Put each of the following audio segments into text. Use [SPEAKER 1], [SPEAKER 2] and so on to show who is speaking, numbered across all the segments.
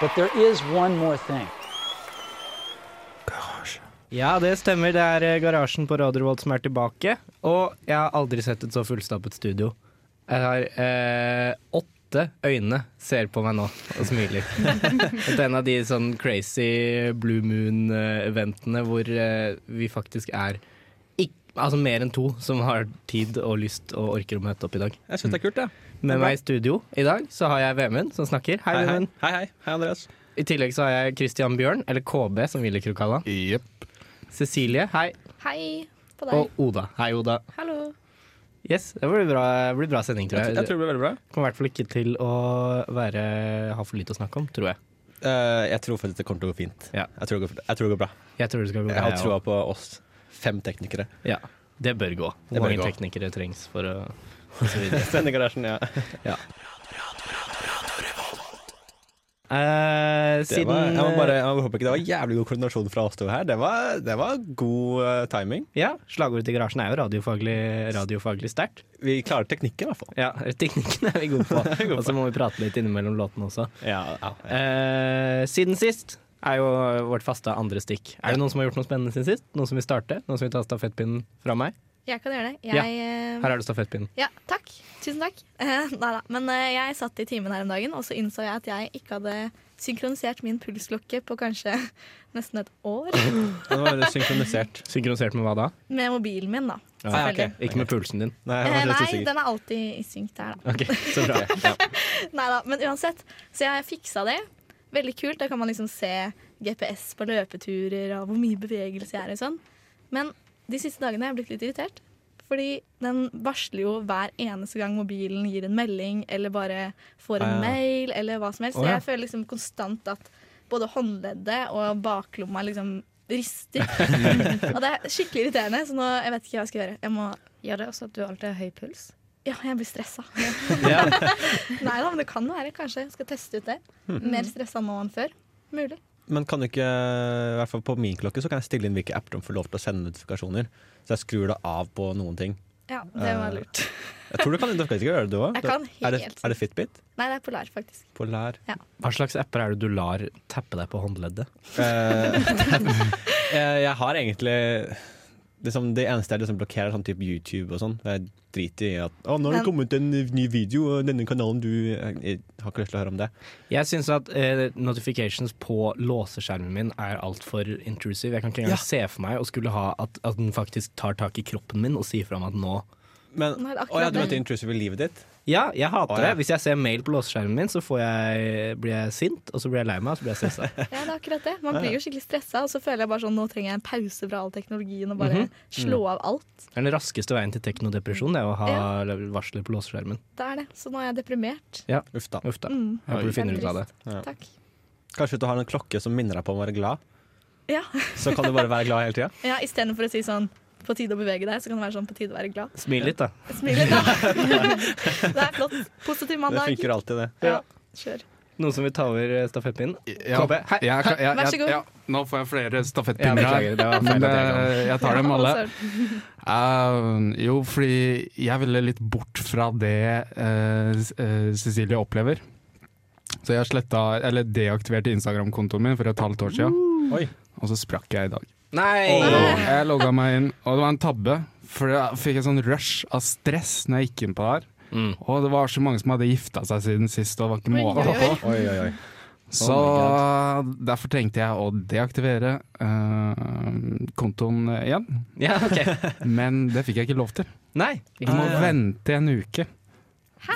[SPEAKER 1] But there is one more thing.
[SPEAKER 2] Ja, det stemmer. Det er eh, garasjen på Radio Revolt som er tilbake. Og jeg har aldri sett et så fullstappet studio. Jeg har eh, åtte øyne ser på meg nå og smiler. det er en av de sånn crazy Blue Moon-eventene hvor eh, vi faktisk er ikk- Altså mer enn to som har tid og lyst og orker å møte opp i dag.
[SPEAKER 3] Jeg syns det er kult, jeg.
[SPEAKER 2] Med meg i studio i dag så har jeg Vemund som snakker. Hei,
[SPEAKER 3] Hei, hei.
[SPEAKER 2] Vemund.
[SPEAKER 3] Hei, hei. Hei, Andreas.
[SPEAKER 2] I tillegg så har jeg Christian Bjørn, eller KB som vi liker å kalle han.
[SPEAKER 4] Jepp.
[SPEAKER 2] Cecilie, hei.
[SPEAKER 5] Hei på deg.
[SPEAKER 2] Og Oda. Hei, Oda.
[SPEAKER 5] Hallo.
[SPEAKER 2] Yes, det blir bra, det blir bra sending, tror
[SPEAKER 3] Jeg,
[SPEAKER 2] jeg.
[SPEAKER 3] jeg tror det blir veldig bra.
[SPEAKER 2] Det kommer i hvert fall ikke til å være, ha for lite å snakke om, tror jeg.
[SPEAKER 4] Eh, jeg tror faktisk det kommer til å gå fint.
[SPEAKER 2] Ja.
[SPEAKER 4] Jeg, tror det går, jeg tror det går bra.
[SPEAKER 2] Jeg tror det skal gå
[SPEAKER 4] Jeg
[SPEAKER 2] bra.
[SPEAKER 4] har trua på oss fem teknikere.
[SPEAKER 2] også. Ja, det bør gå.
[SPEAKER 4] Det
[SPEAKER 2] Hvor
[SPEAKER 4] bør
[SPEAKER 2] mange
[SPEAKER 4] gå.
[SPEAKER 2] teknikere trengs for å
[SPEAKER 4] Sendegarasjen, ja.
[SPEAKER 2] Eh,
[SPEAKER 4] Det
[SPEAKER 2] Siden
[SPEAKER 4] var, jeg, må bare, jeg må håpe ikke det var jævlig god koordinasjon fra oss to her. Det var, det var god eh, timing.
[SPEAKER 2] Ja, slagordet til garasjen er jo radiofaglig, radiofaglig sterkt.
[SPEAKER 4] Vi klarer teknikken, i hvert fall.
[SPEAKER 2] Ja, teknikken er vi gode på.
[SPEAKER 4] er vi gode
[SPEAKER 2] Og så må vi prate litt innimellom låtene også.
[SPEAKER 4] Ja,
[SPEAKER 2] Eh, siden sist er jo vårt faste andre stikk. Er det noen som har gjort noe spennende siden sist? Noen som vil starte? Noen som vil ta stafettpinnen fra meg?
[SPEAKER 5] Jeg kan gjøre det.
[SPEAKER 2] Ja,
[SPEAKER 5] Jeg, ja,
[SPEAKER 2] Her er det stafettpinnen.
[SPEAKER 5] ja, takk. Tusen takk. Eh, Nei da. Men eh, jeg satt i timen her om dagen, og så innså jeg at jeg ikke hadde synkronisert min pulsklokke på kanskje nesten et år.
[SPEAKER 4] Det var veldig synkronisert.
[SPEAKER 2] Synkronisert med hva da?
[SPEAKER 5] Med mobilen min, da.
[SPEAKER 2] Ah,
[SPEAKER 5] Selvfølgelig.
[SPEAKER 2] Ikke med pulsen din.
[SPEAKER 4] Nei, jeg
[SPEAKER 5] Eh,
[SPEAKER 4] var litt
[SPEAKER 5] Nei,
[SPEAKER 4] usikker.
[SPEAKER 5] den er alltid i synk der, da.
[SPEAKER 2] Ok, så bra.
[SPEAKER 5] Nei da, men uansett. Så jeg fiksa det. Veldig kult. Da kan man liksom se GPS på løpeturer og hvor mye bevegelse jeg er og sånn. Men de siste dagene har jeg blitt litt irritert. Fordi den varsler jo hver eneste gang mobilen gir en melding eller bare får
[SPEAKER 4] Ah,
[SPEAKER 5] en
[SPEAKER 4] ja.
[SPEAKER 5] mail eller hva som helst.
[SPEAKER 2] Å,
[SPEAKER 5] Så
[SPEAKER 2] ja.
[SPEAKER 5] jeg føler liksom konstant at både håndleddet og baklomma liksom rister. og det er skikkelig irriterende, så nå jeg vet ikke hva jeg skal gjøre. Jeg må
[SPEAKER 6] Gjør det også at du alltid har høy puls?
[SPEAKER 5] ja, jeg blir stressa. Nei da, men det kan være. Kanskje jeg skal teste ut det. Mer stressa nå enn før. Mulig.
[SPEAKER 4] Men kan du ikke, i hvert fall på min klokke, så kan jeg stille inn hvilke apper som får lov til å sende notifikasjoner. Så jeg skrur det av på noen ting.
[SPEAKER 5] Ja, det var
[SPEAKER 4] Eh,
[SPEAKER 5] lurt.
[SPEAKER 4] Jeg tror du kan, du kan ikke gjøre det, du òg.
[SPEAKER 5] Jeg kan
[SPEAKER 4] Er, det-
[SPEAKER 5] helt.
[SPEAKER 4] er det Fitbit?
[SPEAKER 5] Nei, det er polar, faktisk.
[SPEAKER 4] Polar
[SPEAKER 2] Hva slags apper er det du lar tappe deg på håndleddet?
[SPEAKER 4] Eh, jeg, jeg har egentlig liksom, Det eneste jeg liksom blokkerer, er sånn type YouTube og sånn. Jeg driter i at Å, nå har
[SPEAKER 5] Men-
[SPEAKER 4] det kommet en ny video, og denne kanalen du Jeg, jeg har ikke lyst til å høre om det.
[SPEAKER 2] Jeg syns at eh, notifications på låseskjermen min er altfor intrusive. Jeg kan ikke engang
[SPEAKER 4] Ja.
[SPEAKER 2] se for meg å skulle ha at, at den faktisk tar tak i kroppen min og sier fra meg at nå
[SPEAKER 4] Men
[SPEAKER 5] Nå er det akkurat
[SPEAKER 4] Å ja, du
[SPEAKER 5] det.
[SPEAKER 4] mente intrusive i livet ditt?
[SPEAKER 2] Ja, jeg hater
[SPEAKER 4] Å,
[SPEAKER 2] det.
[SPEAKER 4] ja.
[SPEAKER 2] Hvis jeg ser mail på låseskjermen min, så får jeg, blir jeg sint, og så blir jeg lei meg, og så blir jeg stressa.
[SPEAKER 5] Ja, det er akkurat det. Man blir jo skikkelig stressa, og så føler jeg bare sånn nå trenger jeg en pause fra all teknologien og bare slå av alt.
[SPEAKER 2] Det er den raskeste veien til teknodepresjon, det er å ha varsler på låseskjermen.
[SPEAKER 5] Det er det. Så nå er jeg deprimert.
[SPEAKER 4] Uff da.
[SPEAKER 2] Uff da.
[SPEAKER 5] Mm.
[SPEAKER 2] Håper du
[SPEAKER 5] Det er
[SPEAKER 2] finner ut av det.
[SPEAKER 5] trist.
[SPEAKER 4] Ja.
[SPEAKER 5] Takk.
[SPEAKER 4] Kanskje du har en klokke som minner deg på å være glad?
[SPEAKER 5] Ja.
[SPEAKER 4] Så kan du bare være glad hele tida?
[SPEAKER 5] ja Istedenfor å si sånn på tide å bevege deg, så kan det være sånn på tide å være glad.
[SPEAKER 2] Smil litt, da.
[SPEAKER 5] Smil litt, da. det er flott. Positiv
[SPEAKER 4] Det
[SPEAKER 5] mandag.
[SPEAKER 4] funker alltid, det.
[SPEAKER 5] Ja. Kjør.
[SPEAKER 2] Noen som vil ta over eh, stafettpinnen?
[SPEAKER 7] Ja.
[SPEAKER 2] KB, hei.
[SPEAKER 7] Ja, jeg kan- ja,
[SPEAKER 5] Vær så
[SPEAKER 7] ja,
[SPEAKER 5] god.
[SPEAKER 7] Ja, nå får jeg flere
[SPEAKER 2] Ja,
[SPEAKER 7] stafettpinner
[SPEAKER 2] beklager,
[SPEAKER 7] her.
[SPEAKER 2] det var feil.
[SPEAKER 7] Men
[SPEAKER 2] at jeg kom.
[SPEAKER 7] eh, jeg tar dem
[SPEAKER 5] Ja,
[SPEAKER 7] alle.
[SPEAKER 5] altså,
[SPEAKER 7] Eh, jo, fordi jeg ville litt bort fra det eh, s- eh, Cecilie opplever. Så jeg sletta, eller deaktiverte Instagram-kontoen min for et halvt år siden.
[SPEAKER 4] Oi.
[SPEAKER 7] Og så sprakk jeg i dag.
[SPEAKER 2] Nei!
[SPEAKER 7] Jeg logga meg inn, og det var en tabbe. For da fikk jeg sånn rush av stress når jeg gikk inn på det her.
[SPEAKER 2] Mm.
[SPEAKER 7] Og det var så mange som hadde gifta seg siden sist, og det var ikke måte på.
[SPEAKER 4] Oi, oi, oi.
[SPEAKER 7] Så
[SPEAKER 4] Oh
[SPEAKER 7] derfor trengte jeg å deaktivere eh, kontoen igjen,
[SPEAKER 2] Ja, ok.
[SPEAKER 7] men det fikk jeg ikke lov til.
[SPEAKER 2] Nei.
[SPEAKER 7] Jeg må vente en uke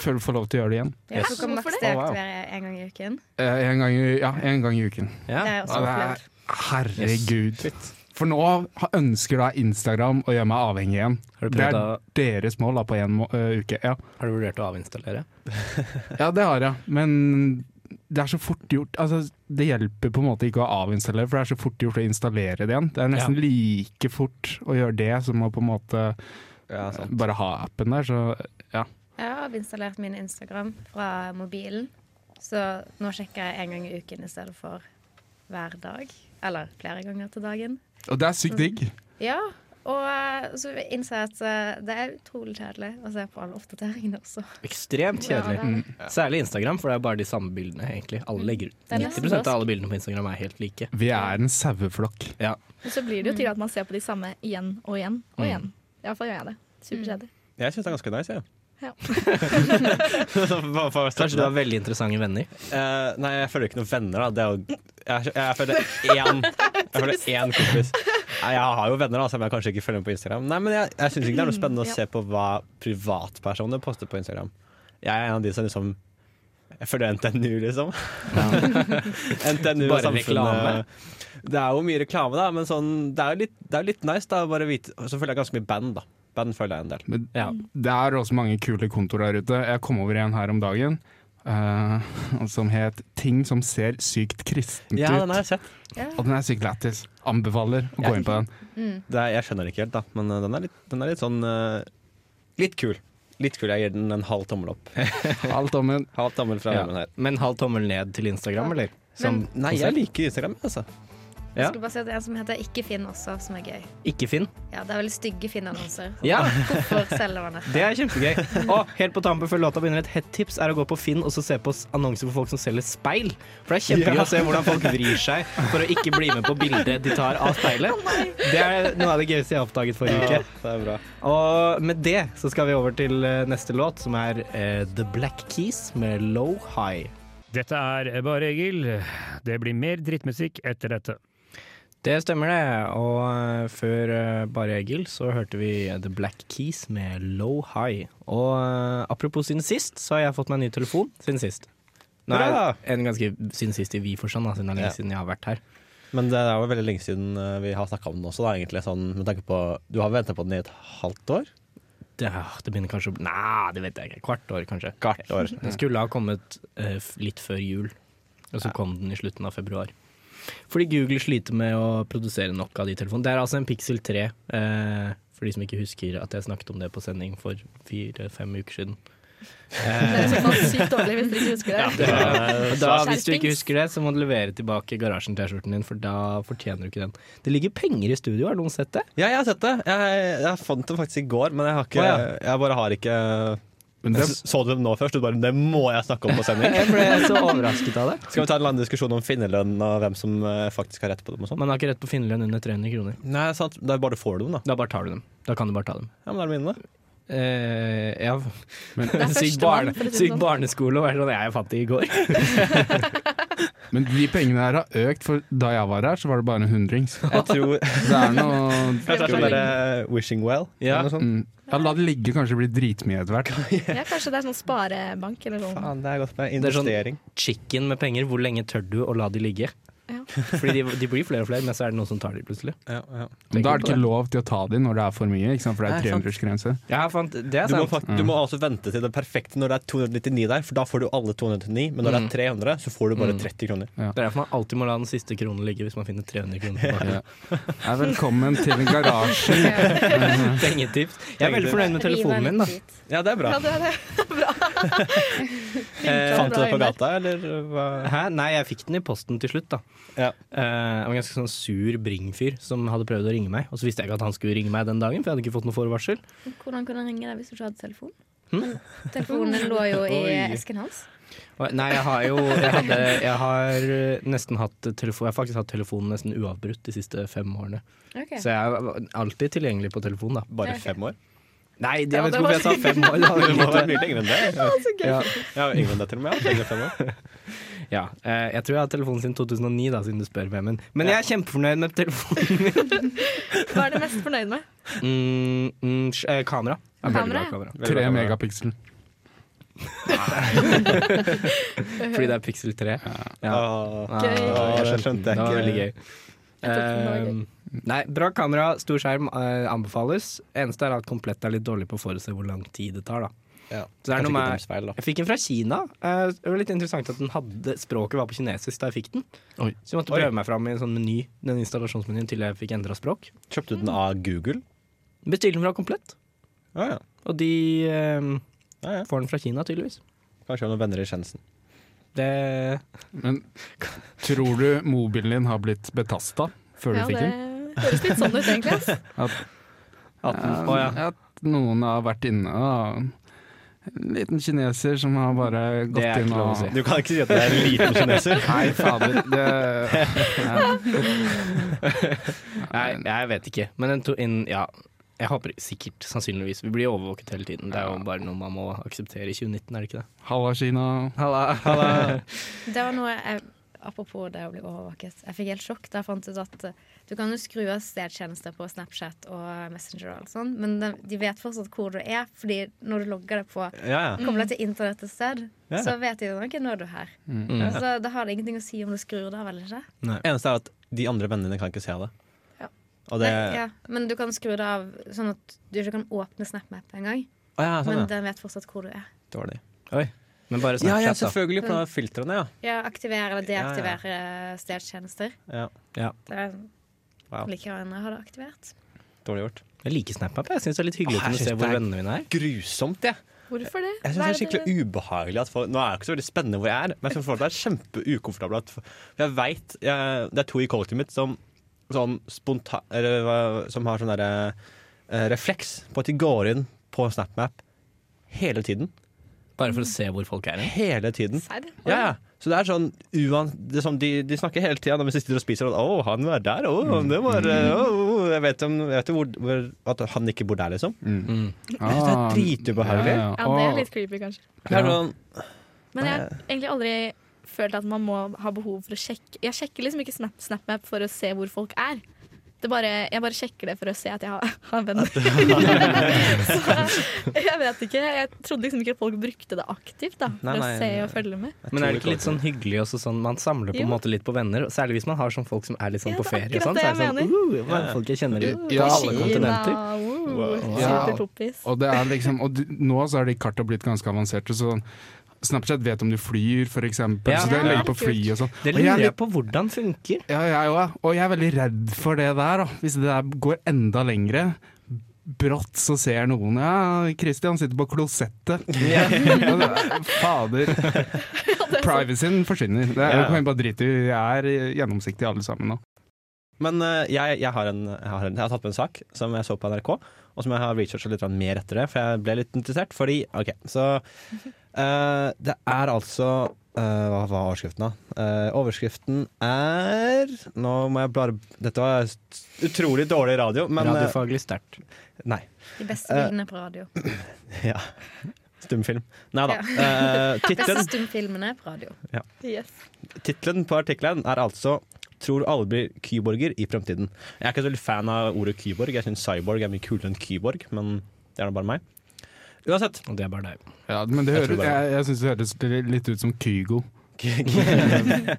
[SPEAKER 7] før du får lov til å gjøre det igjen.
[SPEAKER 6] Ja,
[SPEAKER 2] Yes.
[SPEAKER 6] Du kan
[SPEAKER 5] Hvorfor
[SPEAKER 6] maks
[SPEAKER 5] det?
[SPEAKER 6] deaktivere en gang i uken.
[SPEAKER 7] Eh, en, gang i, ja, en gang i uken.
[SPEAKER 2] Ja.
[SPEAKER 6] Det er også
[SPEAKER 7] Ja, det
[SPEAKER 6] opplevd.
[SPEAKER 7] er, herregud. For nå ha- ønsker da Instagram å gjøre meg avhengig igjen.
[SPEAKER 2] Har, du
[SPEAKER 7] Det
[SPEAKER 2] prøvd
[SPEAKER 7] er
[SPEAKER 2] å,
[SPEAKER 7] deres mål da på én uke. Ja.
[SPEAKER 2] har du vurdert å avinstallere?
[SPEAKER 7] ja, det har jeg, men det er så fort gjort. Altså, det hjelper på en måte ikke å avinstallere, for det er så fort gjort å installere det igjen. Det er nesten like fort å gjøre det som å på en måte eh,
[SPEAKER 4] Ja, sant.
[SPEAKER 7] Bare ha appen der, så ja.
[SPEAKER 6] Jeg har installert min Instagram fra mobilen, så nå sjekker jeg en gang i uken i stedet for hver dag. Eller flere ganger til dagen.
[SPEAKER 7] Og det er sykt digg.
[SPEAKER 6] Ja, Og eh, så innser jeg at eh, det er utrolig kjedelig å se på alle oppdateringene også.
[SPEAKER 2] Ekstremt
[SPEAKER 6] Ja,
[SPEAKER 2] kjedelig.
[SPEAKER 6] det er det.
[SPEAKER 2] Særlig Instagram, for det er bare de samme bildene. egentlig Alle legger ut
[SPEAKER 6] Det er
[SPEAKER 2] 90 av
[SPEAKER 6] nesten sånn.
[SPEAKER 2] alle bildene på Instagram er helt like.
[SPEAKER 7] Vi er en saueflokk.
[SPEAKER 2] Ja.
[SPEAKER 5] Og så blir det jo til at man ser på de samme igjen og igjen og igjen. I hvert fall gjør jeg det. Superkjedelig.
[SPEAKER 4] Jeg syns det er ganske nice, jeg.
[SPEAKER 5] Ja.
[SPEAKER 4] Hva- hva er
[SPEAKER 2] Kanskje
[SPEAKER 4] starten
[SPEAKER 2] du
[SPEAKER 4] da?
[SPEAKER 2] har veldig interessante venner.
[SPEAKER 4] Eh, nei, jeg føler ikke noen venner, da. Det er jo, jeg, jeg føler én Jeg føler én kompis. Nei, jeg har jo venner, da, selv om jeg kanskje ikke følger med på Instagram. Nei, men jeg, jeg syns ikke det er noe spennende
[SPEAKER 5] Ja.
[SPEAKER 4] å se på hva privatpersoner poster på Instagram. Jeg er en av de som liksom Jeg følger NTNU, liksom. NTNU og
[SPEAKER 2] Bare
[SPEAKER 4] samfunnet.
[SPEAKER 2] reklame.
[SPEAKER 4] Det er jo mye reklame, da, men sånn, det er jo litt, det er jo litt nice da, å bare vite Og så følger jeg ganske mye band, da. Band følger jeg en del.
[SPEAKER 7] Men
[SPEAKER 2] Ja.
[SPEAKER 6] Mm.
[SPEAKER 7] det er også mange kule kontoer der ute. Jeg kom over en her om dagen eh, som het 'Ting som ser sykt kristent
[SPEAKER 4] Ja, den
[SPEAKER 7] ut'.
[SPEAKER 4] har jeg sett.
[SPEAKER 6] Ja.
[SPEAKER 7] Og den er sykt lættis. Anbefaler å
[SPEAKER 4] Ja.
[SPEAKER 7] gå inn på den.
[SPEAKER 6] Mm.
[SPEAKER 4] Det er, jeg skjønner det ikke helt, da, men eh, den er litt, den er litt sånn eh, Litt kul. Litt kul. Jeg gir den en halv tommel opp.
[SPEAKER 7] Alt om en
[SPEAKER 4] Halv tommel fra
[SPEAKER 2] Ja.
[SPEAKER 4] armen her.
[SPEAKER 2] Men halv tommel ned til Instagram, eller? Som
[SPEAKER 6] Men-
[SPEAKER 4] Nei, jeg liker Instagram, altså.
[SPEAKER 6] Jeg
[SPEAKER 2] Ja.
[SPEAKER 6] skulle bare si at det er en som heter Ikke Finn også, som er gøy.
[SPEAKER 2] ikke Finn.
[SPEAKER 6] Ja, Det er veldig stygge Finn-annonser.
[SPEAKER 2] Ja,
[SPEAKER 6] Hvorfor selger man dette?
[SPEAKER 2] det er kjempegøy. Og helt på tampen før låta begynner, et hett-tips er å gå på Finn og så se på s- annonser for folk som selger speil. For det er kjempegøy å se hvordan folk vrir seg for å ikke bli med på bildet de tar av speilet. Det er noe av det gøyeste jeg har oppdaget forrige uke.
[SPEAKER 4] det er bra.
[SPEAKER 2] Og med det så skal vi over til eh, neste låt, som er eh, The Black Keys med Low High.
[SPEAKER 3] Dette er Bare Egil. Det blir mer drittmusikk etter dette.
[SPEAKER 2] Det stemmer det, og eh, før eh, Bare Egil så hørte vi eh, The Black Keys med Low High. Og eh, apropos siden sist, så har jeg fått meg en ny telefon siden sist. Nå er
[SPEAKER 4] Bra!
[SPEAKER 2] en ganske siden sist i vi-forstand, da, siden det er lenge
[SPEAKER 4] Ja.
[SPEAKER 2] siden jeg har vært her.
[SPEAKER 4] Men det er jo veldig lenge siden eh, vi har snakka om den også, da, egentlig. Sånn, med tanke på Du har venta på den i et halvt år?
[SPEAKER 2] Det, ah, det begynner kanskje å bli Nei, det vet jeg ikke. Kvart år, kanskje.
[SPEAKER 4] Kvart år.
[SPEAKER 2] Den skulle ha kommet eh, f- litt før jul, og så kom den i slutten av februar. Fordi Google sliter med å produsere nok av de telefonene. Det er altså en Pixel 3, eh, for de som ikke husker at jeg snakket om det på sending for fire-fem uker siden. Eh,
[SPEAKER 5] Det er i så fall sykt dårlig hvis dere ikke husker det.
[SPEAKER 2] Da, hvis du ikke husker det, så må du levere tilbake garasjen-T-skjorten din, for da fortjener du ikke den. Det ligger penger i studio, har noen sett det?
[SPEAKER 4] Ja, jeg har sett det. Jeg, jeg fant det faktisk i går, men jeg har ikke
[SPEAKER 2] Å, ja.
[SPEAKER 4] Jeg bare har ikke
[SPEAKER 7] Men det,
[SPEAKER 4] S- Så du den nå først? Du bare Det må jeg snakke om på sending.
[SPEAKER 2] Jeg ble så overrasket av det.
[SPEAKER 4] Skal vi ta en lang diskusjon om finnerlønn og hvem som eh, faktisk har rett på dem og sånn?
[SPEAKER 2] Man har ikke rett på finnerlønn under 300 kroner.
[SPEAKER 4] Nei, sant. Det er bare du får dem, da.
[SPEAKER 2] Da bare tar du dem. Da kan du bare ta dem.
[SPEAKER 4] Ja, men da er det mine, da.
[SPEAKER 2] Eh, ja.
[SPEAKER 7] Men-
[SPEAKER 5] Det er
[SPEAKER 2] syk,
[SPEAKER 5] første
[SPEAKER 2] barne,
[SPEAKER 5] mann, for å si det
[SPEAKER 2] syk
[SPEAKER 5] sånn.
[SPEAKER 2] barneskole og være sånn Jeg er fattig i går.
[SPEAKER 7] men de pengene her har økt, for da jeg var her, så var det bare en hundrings.
[SPEAKER 4] Jeg tror Kanskje
[SPEAKER 7] Det er noe
[SPEAKER 4] det er sånn derre Wishing Well?
[SPEAKER 2] Ja.
[SPEAKER 4] Eller noe sånt.
[SPEAKER 7] mm. Ja, la det ligge, kanskje det blir dritmye etter hvert.
[SPEAKER 5] Ja, kanskje det er sånn sparebank eller noe.
[SPEAKER 4] Faen, det er godt med
[SPEAKER 2] Mm. er sånn-
[SPEAKER 4] investering.
[SPEAKER 2] Chicken med penger, hvor lenge tør du å la de ligge?
[SPEAKER 5] Ja.
[SPEAKER 2] Fordi de, de blir flere og flere, men så er det noen som tar de plutselig.
[SPEAKER 4] Ja, ja.
[SPEAKER 7] Men da er det ikke lov til å ta de når det er for mye, ikke sant? for det
[SPEAKER 4] Nei,
[SPEAKER 7] er
[SPEAKER 4] sant.
[SPEAKER 7] 300-grense.
[SPEAKER 2] Ja, fant, det er
[SPEAKER 4] Du må,
[SPEAKER 2] sant. Mm.
[SPEAKER 4] fakt- du må altså vente til det perfekte når det er 299 der, for da får du alle 299, men når det
[SPEAKER 2] Mm.
[SPEAKER 4] er 300, så får du bare
[SPEAKER 2] Mm.
[SPEAKER 4] 30 kroner.
[SPEAKER 2] Det er derfor man alltid må la den siste kronen ligge hvis man finner 300 kroner tilbake.
[SPEAKER 7] Ja. Ja, velkommen til garasjen.
[SPEAKER 2] Pengetips. Jeg er veldig fornøyd med telefonen min. da
[SPEAKER 4] Ja, det er bra.
[SPEAKER 5] Ja, det er det.
[SPEAKER 2] Eh,
[SPEAKER 4] Fant du det på
[SPEAKER 5] Bra
[SPEAKER 4] gata, eller hva?
[SPEAKER 2] Hæ? Nei, jeg fikk den i posten til slutt, da.
[SPEAKER 4] Ja.
[SPEAKER 2] Eh, jeg var en ganske sånn sur bringfyr som hadde prøvd å ringe meg, og så visste jeg ikke at han skulle ringe meg den dagen, for jeg hadde ikke fått noe forvarsel.
[SPEAKER 6] Hvordan kunne han ringe deg hvis du ikke hadde telefon?
[SPEAKER 4] Hm?
[SPEAKER 6] Men telefonen lå jo i
[SPEAKER 2] Oi.
[SPEAKER 6] esken hans.
[SPEAKER 2] Og- Nei, jeg har jo Jeg, hadde, jeg har eh, nesten hatt telefon Jeg har faktisk hatt telefonen nesten uavbrutt de siste fem årene.
[SPEAKER 6] Ok.
[SPEAKER 2] Så jeg er alltid tilgjengelig på telefon, da.
[SPEAKER 4] Bare
[SPEAKER 6] Ok.
[SPEAKER 4] fem år?
[SPEAKER 2] Nei, jeg
[SPEAKER 5] Ja,
[SPEAKER 2] vet
[SPEAKER 5] det
[SPEAKER 2] ikke hvorfor jeg sa
[SPEAKER 5] var-
[SPEAKER 2] fem år. Det hadde
[SPEAKER 4] Det må
[SPEAKER 2] vært
[SPEAKER 4] være
[SPEAKER 2] lite.
[SPEAKER 4] mye lenger enn det.
[SPEAKER 2] Ja.
[SPEAKER 4] Ja, yngre enn det til og med. ja. Lenger enn fem år.
[SPEAKER 2] Ja. eh, Jeg tror jeg har hatt telefonen siden 2009, da, siden du spør, Vemund. Men jeg er kjempefornøyd med telefonen.
[SPEAKER 5] Hva er du mest fornøyd med?
[SPEAKER 2] Mm, mm, sj- eh, kamera. Jeg er veldig bra
[SPEAKER 5] Kamera?
[SPEAKER 2] kamera.
[SPEAKER 4] Veldig
[SPEAKER 7] Tre
[SPEAKER 4] bra.
[SPEAKER 7] megapiksel.
[SPEAKER 5] Uh-huh.
[SPEAKER 2] Fordi det er Pixel 3. Ja.
[SPEAKER 4] Åh,
[SPEAKER 2] Ah,
[SPEAKER 5] Gøy.
[SPEAKER 4] Åh, jeg skjønte
[SPEAKER 2] Det var veldig gøy.
[SPEAKER 4] ikke.
[SPEAKER 5] Jeg tok den, det var gøy.
[SPEAKER 2] Eh, nei, bra kamera, stor skjerm eh, anbefales. Eneste er at komplett er litt dårlig på å forutse hvor lang tid det tar. da
[SPEAKER 4] Ja.
[SPEAKER 2] Så det er noe
[SPEAKER 4] Kanskje ikke
[SPEAKER 2] med
[SPEAKER 4] deres feil, da.
[SPEAKER 2] Jeg fikk en fra Kina. Eh, Det var litt interessant at den hadde, språket var på kinesisk da jeg fikk den.
[SPEAKER 7] Oi.
[SPEAKER 2] Så jeg måtte
[SPEAKER 4] Oi.
[SPEAKER 2] prøve meg fram i en sånn meny, den installasjonsmenyen til jeg fikk endra språk.
[SPEAKER 4] Kjøpte du den av Google?
[SPEAKER 2] Bestilte den fra Komplett,
[SPEAKER 4] Ja, ja.
[SPEAKER 2] og de eh,
[SPEAKER 4] ja, ja.
[SPEAKER 2] får den fra Kina, tydeligvis.
[SPEAKER 4] Kanskje jeg har noen venner i Skjensen.
[SPEAKER 2] Det
[SPEAKER 7] Men tror du mobilen din har blitt betasta før du
[SPEAKER 5] Ja,
[SPEAKER 7] fikk
[SPEAKER 5] det
[SPEAKER 7] den?
[SPEAKER 5] høres litt sånn ut, egentlig. ass.
[SPEAKER 7] At Eh,
[SPEAKER 4] 18, å ja.
[SPEAKER 7] At noen har vært inne og En liten kineser som har bare gått
[SPEAKER 2] er
[SPEAKER 7] inn
[SPEAKER 2] ikke lov å
[SPEAKER 7] og
[SPEAKER 2] si.
[SPEAKER 4] Du kan ikke si at det er en liten kineser.
[SPEAKER 7] Nei, fader. Det, ja.
[SPEAKER 2] Nei, jeg vet ikke. Men en to inn, ja. Jeg håper sikkert, sannsynligvis. Vi blir overvåket hele tiden. Det er jo bare noe man må akseptere i 2019, er det ikke det?
[SPEAKER 7] Halla, Kina.
[SPEAKER 6] Det var noe jeg, Apropos det å bli overvåket. Jeg fikk helt sjokk da jeg fant ut at eh, du kan jo skru av stedtjenester på Snapchat og Messenger, og alt sånt, men de, de vet fortsatt hvor du er. Fordi når du logger deg på
[SPEAKER 4] Ja, ja.
[SPEAKER 6] Kommer deg til internett et sted,
[SPEAKER 4] Ja. Mm.
[SPEAKER 6] så vet de jo ok, nå er du her. Så da har det ingenting å si om du skrur det av eller ikke.
[SPEAKER 4] Eneste er at de andre vennene dine kan ikke se det.
[SPEAKER 5] Ja.
[SPEAKER 4] Og det
[SPEAKER 6] Nei, ja. Men du kan skru det av sånn at du ikke kan åpne SnapMap engang.
[SPEAKER 4] Å ja, sånn,
[SPEAKER 6] Men
[SPEAKER 4] ja.
[SPEAKER 6] den vet fortsatt hvor du er.
[SPEAKER 4] Dårlig.
[SPEAKER 2] Men bare
[SPEAKER 4] Ja,
[SPEAKER 2] Snapchat,
[SPEAKER 4] ja,
[SPEAKER 2] da.
[SPEAKER 4] selvfølgelig på filtrene, ja.
[SPEAKER 6] Ja, Aktivere eller
[SPEAKER 4] Ja, ja.
[SPEAKER 6] deaktivere stedstjenester.
[SPEAKER 4] ja.
[SPEAKER 6] Det er
[SPEAKER 4] Wow.
[SPEAKER 6] like gjerne å ha det aktivert.
[SPEAKER 4] Dårlig gjort.
[SPEAKER 2] Jeg liker SnapUp. Jeg syns det er litt hyggelig
[SPEAKER 4] Åh,
[SPEAKER 2] å kunne
[SPEAKER 4] jeg
[SPEAKER 2] se
[SPEAKER 4] synes
[SPEAKER 2] hvor
[SPEAKER 4] det er-
[SPEAKER 2] vennene mine er.
[SPEAKER 4] Grusomt, jeg.
[SPEAKER 5] Hvorfor det?
[SPEAKER 4] Jeg syns det
[SPEAKER 5] Hva er
[SPEAKER 4] er
[SPEAKER 5] det-
[SPEAKER 4] skikkelig ubehagelig at folk Nå er det ikke så veldig spennende hvor jeg er, men jeg synes folk er kjempeukomfortable. At, for jeg vet, jeg, Det er to i kollektivet mitt som, sånn sponta, eller, hva- som har sånn derre eh, refleks på at de går inn på SnapMap hele tiden.
[SPEAKER 2] Bare for å se hvor folk er hen.
[SPEAKER 4] Hele tiden.
[SPEAKER 5] Serr?
[SPEAKER 4] Ja, ja. Så det er sånn, uan, det er sånn de, de snakker hele tida mens de sitter og spiser. Og, 'Å, han var der. Å,
[SPEAKER 7] Mm.
[SPEAKER 4] det var eh, å, Jeg vet, om, jeg vet jo hvor, hvor, at han ikke bor der, liksom. Jeg synes det er dritubehagelig.
[SPEAKER 5] Ja,
[SPEAKER 7] Ah. Ja,
[SPEAKER 5] det er
[SPEAKER 7] ja.
[SPEAKER 5] litt creepy, kanskje.
[SPEAKER 4] Det er sånn,
[SPEAKER 5] Men jeg har egentlig aldri følt at man må ha behov for å sjekke Jeg sjekker liksom ikke Snap, SnapMap for å se hvor folk er. Det bare, jeg bare sjekker det for å se at jeg har, har venner. Så jeg vet ikke. Jeg trodde liksom ikke at folk brukte det aktivt da, for
[SPEAKER 4] Nei, nei,
[SPEAKER 5] å se
[SPEAKER 4] nei.
[SPEAKER 5] og følge med.
[SPEAKER 4] jeg
[SPEAKER 2] Men er
[SPEAKER 4] tror
[SPEAKER 2] det
[SPEAKER 4] vi
[SPEAKER 2] ikke litt sånn hyggelig også sånn Man samler på en
[SPEAKER 5] Jo.
[SPEAKER 2] måte litt på venner, og særlig hvis man har sånn folk som er litt sånn
[SPEAKER 5] Ja,
[SPEAKER 2] på
[SPEAKER 5] det er
[SPEAKER 2] ferie og
[SPEAKER 5] akkurat
[SPEAKER 2] sånn. Så er det sånn
[SPEAKER 5] det jeg
[SPEAKER 2] uh, hva er det folk jeg kjenner i
[SPEAKER 7] Ja,
[SPEAKER 2] på alle
[SPEAKER 7] Kina.
[SPEAKER 2] kontinenter.
[SPEAKER 5] wow.
[SPEAKER 7] Ja.
[SPEAKER 5] Superpoppis.
[SPEAKER 7] Og, det er liksom, og du, nå så er de karta blitt ganske avanserte. Så Snapchat vet om du flyr, for eksempel.
[SPEAKER 2] Ja.
[SPEAKER 7] så det
[SPEAKER 5] Ja,
[SPEAKER 7] legger på
[SPEAKER 5] kult.
[SPEAKER 7] fly og sånn.
[SPEAKER 2] Det
[SPEAKER 7] Og jeg er
[SPEAKER 2] lurer
[SPEAKER 7] litt-
[SPEAKER 2] jeg på hvordan funker.
[SPEAKER 7] Ja, jeg òg. Og jeg er veldig redd for det der. Da. Hvis det der går enda lengre. Brått så ser jeg noen Ja, Christian sitter på klosettet. Fader. Privacyen forsvinner. Det er,
[SPEAKER 4] Ja.
[SPEAKER 7] du kan bare drite i. Jeg er gjennomsiktig alle sammen nå.
[SPEAKER 4] Men eh, jeg, jeg, har en, jeg, har en, jeg har tatt med en sak som jeg så på NRK, og som jeg har researcha litt grann mer etter det, for jeg ble litt interessert. Fordi OK, så eh, Det er altså eh, hva hva var overskriften, da? Eh, overskriften er Nå må jeg bare Dette var utrolig dårlig radio, men eh,
[SPEAKER 2] Radiofaglig sterkt.
[SPEAKER 4] Nei.
[SPEAKER 6] De beste
[SPEAKER 4] Eh,
[SPEAKER 6] bildene på radio.
[SPEAKER 4] Ja. Stumfilm. Nei da.
[SPEAKER 6] Ja.
[SPEAKER 4] Eh,
[SPEAKER 6] De beste
[SPEAKER 4] tittelen-
[SPEAKER 6] stumfilmene på radio.
[SPEAKER 5] Yes.
[SPEAKER 4] Tittelen på artikkelen er altså 'Tror alle blir kyborger i fremtiden'. Jeg er ikke så veldig fan av ordet kyborg. Jeg syns cyborg er mye kulere enn kyborg, men det er da bare meg. Uansett.
[SPEAKER 2] Og det er bare deg.
[SPEAKER 7] Ja, men det
[SPEAKER 4] Jeg
[SPEAKER 7] hører,
[SPEAKER 4] tror bare-
[SPEAKER 7] jeg, jeg syns det høres li- litt ut som Kygo.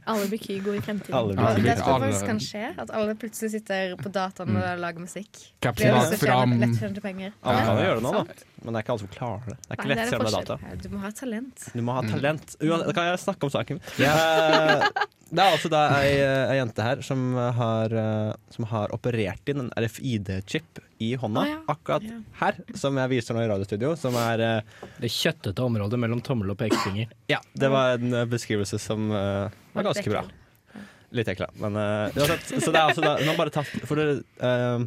[SPEAKER 5] Alle blir Kygo i fremtiden.
[SPEAKER 4] Alle
[SPEAKER 7] Ja,
[SPEAKER 6] Og
[SPEAKER 4] blir
[SPEAKER 7] det
[SPEAKER 6] det
[SPEAKER 7] blir-
[SPEAKER 4] kyborger.
[SPEAKER 6] tror jeg faktisk kan skje. At alle plutselig sitter på dataen
[SPEAKER 7] Mm.
[SPEAKER 6] og lager musikk.
[SPEAKER 7] Captain
[SPEAKER 6] Det er
[SPEAKER 7] Hawk
[SPEAKER 6] også
[SPEAKER 7] fram.
[SPEAKER 6] tjene- lettjente penger.
[SPEAKER 4] Alle kan jo gjøre det nå, da.
[SPEAKER 6] Sant.
[SPEAKER 4] Men det er ikke alle som klarer det. Det er ikke
[SPEAKER 5] Nei,
[SPEAKER 4] lett
[SPEAKER 5] det er
[SPEAKER 4] selv om det er
[SPEAKER 5] forskjell.
[SPEAKER 4] data.
[SPEAKER 6] Ja, Du må ha talent.
[SPEAKER 4] Du må ha talent. Uansett, da kan jeg snakke om saken. Eh, det er altså da ei, ei jente her som har, eh, som har operert inn en RFID-chip i hånda.
[SPEAKER 5] Å, ja.
[SPEAKER 4] Akkurat
[SPEAKER 6] Ja.
[SPEAKER 4] her, som jeg viser nå i radiostudio. Som er eh,
[SPEAKER 2] Det kjøttete området mellom tommel og pekefinger.
[SPEAKER 4] Ja, det var en eh, beskrivelse som eh, var
[SPEAKER 6] Litt
[SPEAKER 4] ganske bra.
[SPEAKER 6] ekkel.
[SPEAKER 4] Litt ekkel, ja. Men eh, uansett, så det er altså da, nå bare tatt For det, eh,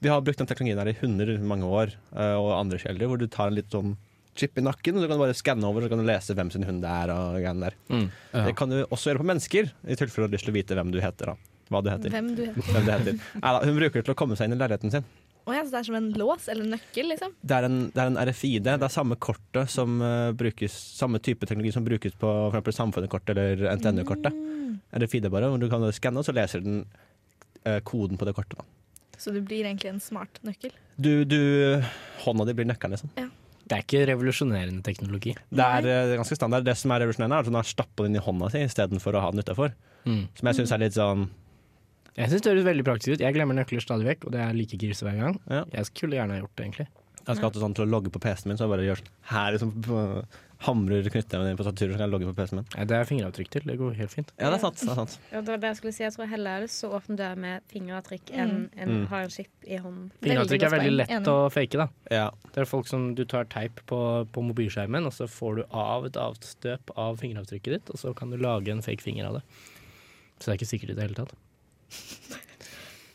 [SPEAKER 4] vi har brukt den teknologien her i hunder i mange år, eh, og andre kjelder, hvor du tar en litt sånn chip i nakken, og så kan du bare skanne over, og så kan du lese hvem sin hund det er, og greiene der.
[SPEAKER 2] Mm.
[SPEAKER 7] Ja.
[SPEAKER 4] Det kan du også gjøre på mennesker, i tilfelle du har lyst til å vite hvem du heter, da. Hva du heter. Hvem,
[SPEAKER 5] Hvem du heter.
[SPEAKER 4] du heter. Neida, hun bruker det til å komme seg inn i leiligheten sin.
[SPEAKER 5] Å ja, så det er som en lås eller en nøkkel, liksom.
[SPEAKER 4] Det er en, det er en RFID. Det er samme kortet som eh, brukes Samme type teknologi som brukes på for eksempel Samfunnet-kortet eller NTNU-kortet. RFID bare, hvor du kan skanne, og så leser den eh, koden på det kortet. Da.
[SPEAKER 5] Så du blir egentlig en smart nøkkel.
[SPEAKER 4] Du, du Hånda di blir nøkkelen, liksom.
[SPEAKER 2] Det er ikke revolusjonerende teknologi.
[SPEAKER 4] Det er eh, ganske standard. Det som er revolusjonerende, er at hun har stappa den i hånda si istedenfor å ha den utafor.
[SPEAKER 2] Mm.
[SPEAKER 4] Som jeg syns er litt sånn
[SPEAKER 2] Jeg syns det høres veldig praktisk ut. Jeg glemmer nøkler stadig vekk, og det er like grise hver gang.
[SPEAKER 4] Ja.
[SPEAKER 2] Jeg skulle gjerne ha gjort det, egentlig.
[SPEAKER 4] Jeg skal ha det sånn til å logge på PC-en min, så jeg bare gjør sånn her, liksom på- hamrer knyttneven inn på tastaturet, så kan jeg logge på PC-en min.
[SPEAKER 2] Nei, det er fingeravtrykk til. Det går helt fint.
[SPEAKER 4] Ja, det er sant. Det er sant.
[SPEAKER 6] Ja, det var det jeg skulle si. Jeg tror heller er det så åpne dører med fingeravtrykk enn enn
[SPEAKER 4] Mm.
[SPEAKER 6] å ha en chip i hånden.
[SPEAKER 5] Det er veldig
[SPEAKER 2] Fingeravtrykk er
[SPEAKER 5] godt
[SPEAKER 2] veldig
[SPEAKER 5] poeng.
[SPEAKER 2] lett
[SPEAKER 5] Enig.
[SPEAKER 2] å fake, da.
[SPEAKER 4] Ja.
[SPEAKER 2] Det er folk som du tar teip på, på mobilskjermen, og så får du av et avstøp av fingeravtrykket ditt, og så kan du lage en fake finger av det. Så det er ikke sikkert i det hele tatt.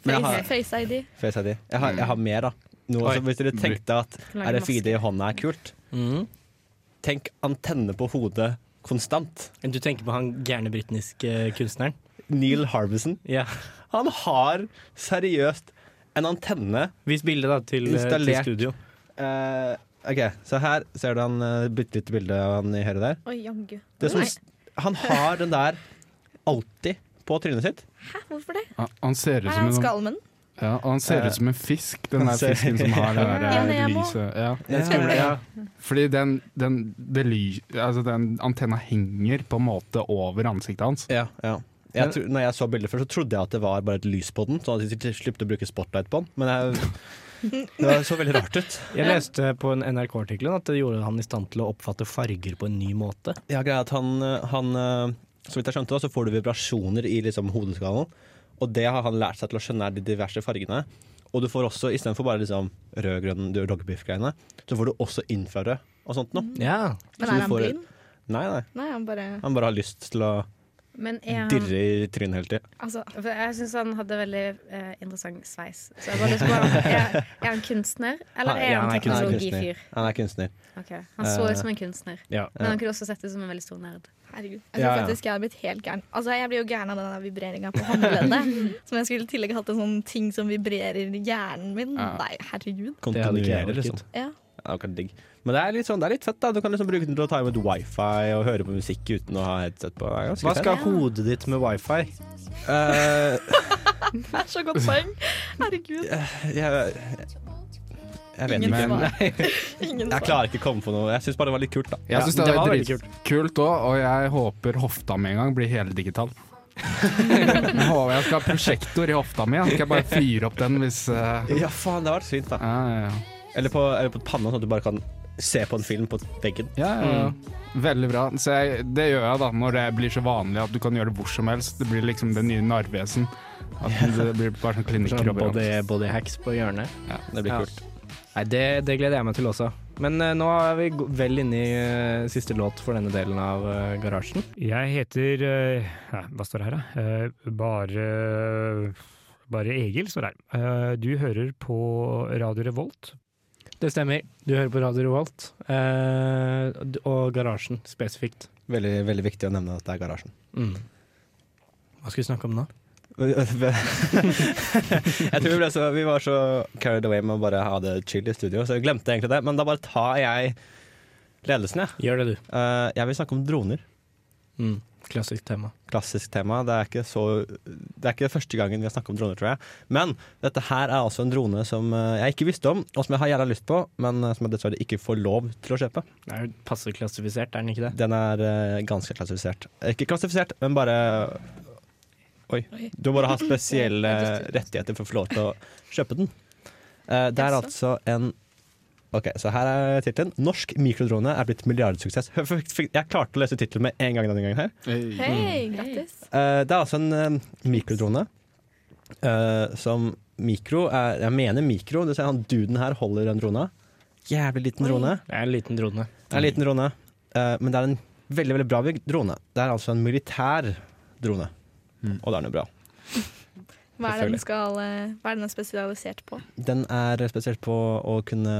[SPEAKER 4] Men jeg har-
[SPEAKER 5] Face- Face-ID.
[SPEAKER 4] Face ID. Jeg har, jeg har mer, da. noe
[SPEAKER 2] Oi.
[SPEAKER 4] som hvis dere tenkte at
[SPEAKER 6] Kan lage
[SPEAKER 4] RFID i hånda er kult, Mm. tenk antenne på hodet konstant.
[SPEAKER 2] Du tenker på han gærne britniske kunstneren?
[SPEAKER 4] Neil Harbison,
[SPEAKER 2] Ja.
[SPEAKER 4] han har seriøst en antenne
[SPEAKER 2] Vis bildet da til, eh, til
[SPEAKER 4] Installert.
[SPEAKER 2] studio.
[SPEAKER 4] Eh, OK, så her ser du han eh, bitte lite bilde av han i høyre der.
[SPEAKER 5] Oi, jamgu.
[SPEAKER 4] Det som,
[SPEAKER 5] Nei.
[SPEAKER 4] han har den der alltid på trynet sitt.
[SPEAKER 5] Hæ, hvorfor det?
[SPEAKER 7] Han- Han ser ut
[SPEAKER 5] Her er
[SPEAKER 7] som
[SPEAKER 5] han
[SPEAKER 7] en, sånn-
[SPEAKER 5] skalmen.
[SPEAKER 7] ja, og han ser ut som en fisk, den
[SPEAKER 4] Han
[SPEAKER 7] der
[SPEAKER 4] ser-
[SPEAKER 7] fisken som har det
[SPEAKER 5] Ja,
[SPEAKER 7] der eh,
[SPEAKER 5] Nemo.
[SPEAKER 7] lyset. Ja.
[SPEAKER 4] Den
[SPEAKER 2] Ja,
[SPEAKER 4] skumle.
[SPEAKER 2] ja.
[SPEAKER 7] Fordi den, den, det ly, altså den antenna henger på en måte over ansiktet hans.
[SPEAKER 4] Ja, ja. Jeg tro, når jeg så bildet før, så trodde jeg at det var bare et lys på den. Sånn at de slipte å bruke spotlight på den. Men jeg, det var- så veldig rart ut.
[SPEAKER 2] Jeg leste på en NRK-artikkel at det gjorde han i stand til å oppfatte farger på en ny måte.
[SPEAKER 4] Ja, greia er at han, han eh, Så vidt jeg skjønte, da, så får du vibrasjoner i liksom, hodeskallen. Og det har han lært seg til å skjønne er de diverse fargene. Og du får også, istedenfor bare liksom, rød-grønn du- dogbeef-greiene, så får du også infrarød og sånt
[SPEAKER 6] Mhm.
[SPEAKER 4] noe.
[SPEAKER 2] Ja.
[SPEAKER 5] Men
[SPEAKER 4] Så
[SPEAKER 5] er
[SPEAKER 4] du
[SPEAKER 5] han
[SPEAKER 4] får-
[SPEAKER 5] blind?
[SPEAKER 4] Nei, nei.
[SPEAKER 5] Nei, han bare
[SPEAKER 4] Han bare har lyst til å
[SPEAKER 6] Men er han
[SPEAKER 4] dirre i trynet hele tida.
[SPEAKER 5] Altså,
[SPEAKER 6] For jeg syns han hadde veldig eh, interessant sveis. Så jeg bare lurer på er, er han kunstner, eller er
[SPEAKER 4] Ja,
[SPEAKER 6] han
[SPEAKER 2] han er
[SPEAKER 6] sånn
[SPEAKER 4] Han er
[SPEAKER 6] teknologifyr?
[SPEAKER 4] kunstner. Han er kunstner.
[SPEAKER 6] Ok, Han så
[SPEAKER 4] Eh,
[SPEAKER 6] ut som en kunstner,
[SPEAKER 4] Ja.
[SPEAKER 6] men han kunne også sett ut som en veldig stor nerd.
[SPEAKER 5] herregud. Jeg tror
[SPEAKER 4] Ja, ja.
[SPEAKER 5] faktisk jeg hadde blitt helt gæren. Altså, jeg blir jo gæren av den vibreringa på håndleddet. som jeg skulle i tillegg hatt en sånn ting som vibrerer i hjernen min.
[SPEAKER 7] Ja.
[SPEAKER 5] Nei, herregud.
[SPEAKER 2] Det hadde ikke jeg
[SPEAKER 4] Kontinuerer, liksom.
[SPEAKER 2] orket.
[SPEAKER 5] Ja.
[SPEAKER 4] Ja, det er digg. Men det er litt, sånn, det er litt fett. da Du kan liksom bruke den til å ta imot wifi og høre på musikk uten å ha headset på. Det er ganske
[SPEAKER 2] Hva
[SPEAKER 4] fett.
[SPEAKER 2] skal hodet ditt med wifi?
[SPEAKER 4] Eh,
[SPEAKER 5] Det er så godt poeng. Herregud.
[SPEAKER 4] jeg, jeg vet
[SPEAKER 5] Ingen
[SPEAKER 4] ikke.
[SPEAKER 5] svar.
[SPEAKER 4] Nei,
[SPEAKER 5] Ingen
[SPEAKER 4] jeg
[SPEAKER 5] svar.
[SPEAKER 4] klarer ikke å komme på noe. Jeg syns bare det var litt kult, da.
[SPEAKER 7] Jeg
[SPEAKER 2] Ja,
[SPEAKER 7] syns
[SPEAKER 2] det
[SPEAKER 7] det var
[SPEAKER 2] var veldig
[SPEAKER 7] dritkult òg, og jeg håper hofta mi en gang blir heldigital. jeg håper jeg skal ha prosjektor i hofta mi. Jeg skal jeg bare fyre opp den hvis eh,
[SPEAKER 4] Ja, faen, det har vært fint, da.
[SPEAKER 7] ja, ja, ja.
[SPEAKER 4] Eller på, eller på panna, sånn at du bare kan se på en film på veggen.
[SPEAKER 7] ja, ja, ja. Mm. Veldig bra. Så jeg, det gjør jeg da, når det blir så vanlig at du kan gjøre det hvor som helst. Det blir liksom det nye narvesen. At det blir bare sånn klinikker overalt.
[SPEAKER 2] Body, body hacks på hjørnet.
[SPEAKER 4] Det blir
[SPEAKER 2] Ja.
[SPEAKER 4] kult.
[SPEAKER 2] Nei, det, det gleder jeg meg til også. Men eh, nå er vi go- vel inne i eh, siste låt for denne delen av eh, garasjen.
[SPEAKER 3] Jeg heter eh, nei, Hva står det her, da? Eh, bare bare Egil står det her. Eh, du hører på Radio Revolt.
[SPEAKER 2] Det stemmer. Du hører på Radio Revolt eh, d- og Garasjen spesifikt.
[SPEAKER 4] Veldig, veldig viktig å nevne at det er garasjen.
[SPEAKER 2] Mm. Hva skal vi snakke om nå?
[SPEAKER 4] jeg tror vi, ble så, vi var så carried away med å bare ha det chill i studio, så jeg glemte egentlig det. Men da bare tar jeg ledelsen, jeg.
[SPEAKER 2] Gjør det, du.
[SPEAKER 4] Eh, jeg vil snakke om droner.
[SPEAKER 2] Mm. Klassisk tema.
[SPEAKER 4] klassisk tema. Det er ikke, så, det er ikke første gangen vi har snakket om droner, tror jeg. Men dette her er altså en drone som eh, jeg ikke visste om, og som jeg har jævla lyst på, men eh, som jeg dessverre ikke får lov til å kjøpe.
[SPEAKER 2] Den er jo passe klassifisert, er den ikke det?
[SPEAKER 4] Den er eh, ganske klassifisert. Ikke klassifisert, men bare Oi. Du må bare ha spesielle rettigheter for å få lov til å kjøpe den. Eh, Det er altså en Ok, så her er tittelen. 'Norsk mikrodrone er blitt milliardsuksess'. Jeg klarte å lese tittelen med en gang denne gangen her.
[SPEAKER 7] Hey.
[SPEAKER 5] Hei, grattis.
[SPEAKER 4] Eh, det er altså en eh, mikrodrone eh, som mikro er, Jeg mener mikro. Du ser han duden her holder en drone. Jævlig liten drone.
[SPEAKER 2] Det er en liten drone.
[SPEAKER 4] Det er en liten drone, eh, men det er en veldig veldig bra drone. Det er altså en militær drone.
[SPEAKER 7] Mm.
[SPEAKER 4] Og da er den jo bra.
[SPEAKER 5] Hva er det den,
[SPEAKER 4] Selvfølgelig.
[SPEAKER 5] skal, eh, hva er det den er spesialisert på?
[SPEAKER 4] Den er spesielt på å kunne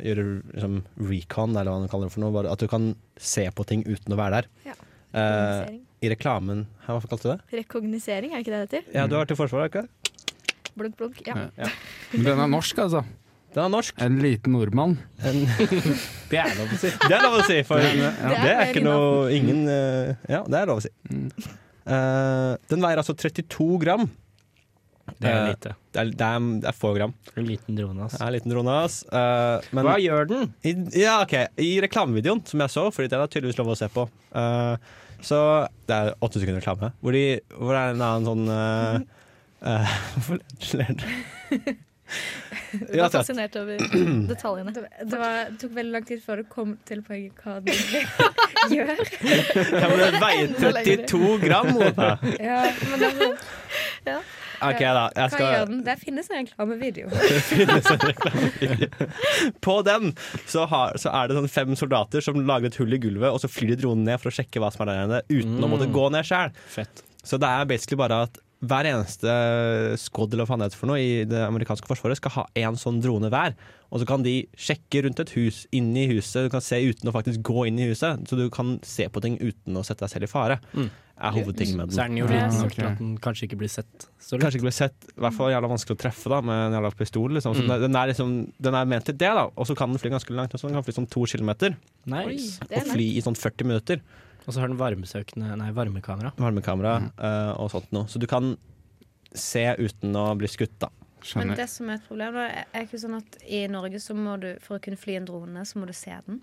[SPEAKER 4] gjøre liksom, recon, eller hva man kaller det for noe. Bare at du kan se på ting uten å være der.
[SPEAKER 5] Ja.
[SPEAKER 4] Eh,
[SPEAKER 5] Rekognosering.
[SPEAKER 4] I reklamen Hæ, Hva kalte du det? Hmm.
[SPEAKER 5] Rekognosering, er ikke det det heter?
[SPEAKER 4] Ja, Du har vært i Forsvaret, ikke det?
[SPEAKER 5] Blunk, blunk. Ja.
[SPEAKER 7] Ja. Men den er norsk, altså.
[SPEAKER 4] Den er norsk.
[SPEAKER 7] En liten nordmann.
[SPEAKER 4] En
[SPEAKER 2] Det er lov å si.
[SPEAKER 4] Det er lov å si, for
[SPEAKER 5] Det er
[SPEAKER 4] det er ikke
[SPEAKER 5] mer
[SPEAKER 4] noe ingen eh, Ja, det er lov å si.
[SPEAKER 2] Mm.
[SPEAKER 4] Eh, den veier altså 32 gram.
[SPEAKER 2] Det er
[SPEAKER 4] Eh,
[SPEAKER 2] lite.
[SPEAKER 4] Det er, det er, det er få gram.
[SPEAKER 2] En liten drone,
[SPEAKER 4] Det
[SPEAKER 2] altså.
[SPEAKER 4] er en liten drone, ass. Eh, men
[SPEAKER 2] Hva gjør den?
[SPEAKER 4] i, ja, OK. I reklamevideoen som jeg så, fordi det er tydeligvis lov å se på, eh, så Det er åtte sekunder reklame, hvor, de, hvor det er en annen sånn eh, eh, Hvorfor ler du?
[SPEAKER 5] Du er
[SPEAKER 4] Uansett.
[SPEAKER 5] fascinert over detaljene.
[SPEAKER 6] Det, det, var, det tok veldig lang tid før du kom til poenget hva den gjør.
[SPEAKER 4] Ja, men Den veier 32 gram! Oda.
[SPEAKER 6] Ja, men det, var-
[SPEAKER 4] OK, da.
[SPEAKER 6] hva
[SPEAKER 4] Jeg skal
[SPEAKER 6] gjør den? Der finnes en reklamevideo.
[SPEAKER 4] På den så, har, så er det sånn fem soldater som lager et hull i gulvet, og så flyr de dronen ned for å sjekke hva som er der nede, uten å måtte gå ned sjøl.
[SPEAKER 2] Mm. Fett.
[SPEAKER 4] Så det er basically bare at hver eneste squad eller hva faen det heter for noe i det amerikanske forsvaret skal ha én sånn drone hver. Og så kan de sjekke rundt et hus, inni huset, du kan se uten å faktisk gå inn i huset. Så du kan se på ting uten å sette deg selv i fare.
[SPEAKER 2] Mm.
[SPEAKER 4] Er hovedtingen med
[SPEAKER 2] Så er
[SPEAKER 4] den.
[SPEAKER 2] den jo
[SPEAKER 6] Ja,
[SPEAKER 2] liten nok
[SPEAKER 7] ok.
[SPEAKER 2] til at den kanskje ikke blir sett så lett.
[SPEAKER 4] Kanskje ikke blir sett, i hvert fall jævla vanskelig å treffe da med en jævla pistol. Liksom. Så
[SPEAKER 2] Mm.
[SPEAKER 4] den, er liksom, den er ment til det, da. Og så kan den fly ganske langt. Også. Den kan fly sånn to kilometer,
[SPEAKER 2] Nice.
[SPEAKER 5] Det er
[SPEAKER 4] og fly i sånn 40 minutter.
[SPEAKER 2] Og så har den varmesøkende Nei, varmekamera.
[SPEAKER 4] varmekamera
[SPEAKER 5] Mm.
[SPEAKER 4] eh, og sånt noe. Så du kan se uten å bli skutt, da.
[SPEAKER 6] Men
[SPEAKER 7] Skjønner.
[SPEAKER 6] det som er et problem, da, er ikke sånn at i Norge så må du, for å kunne fly en drone, så må du se den.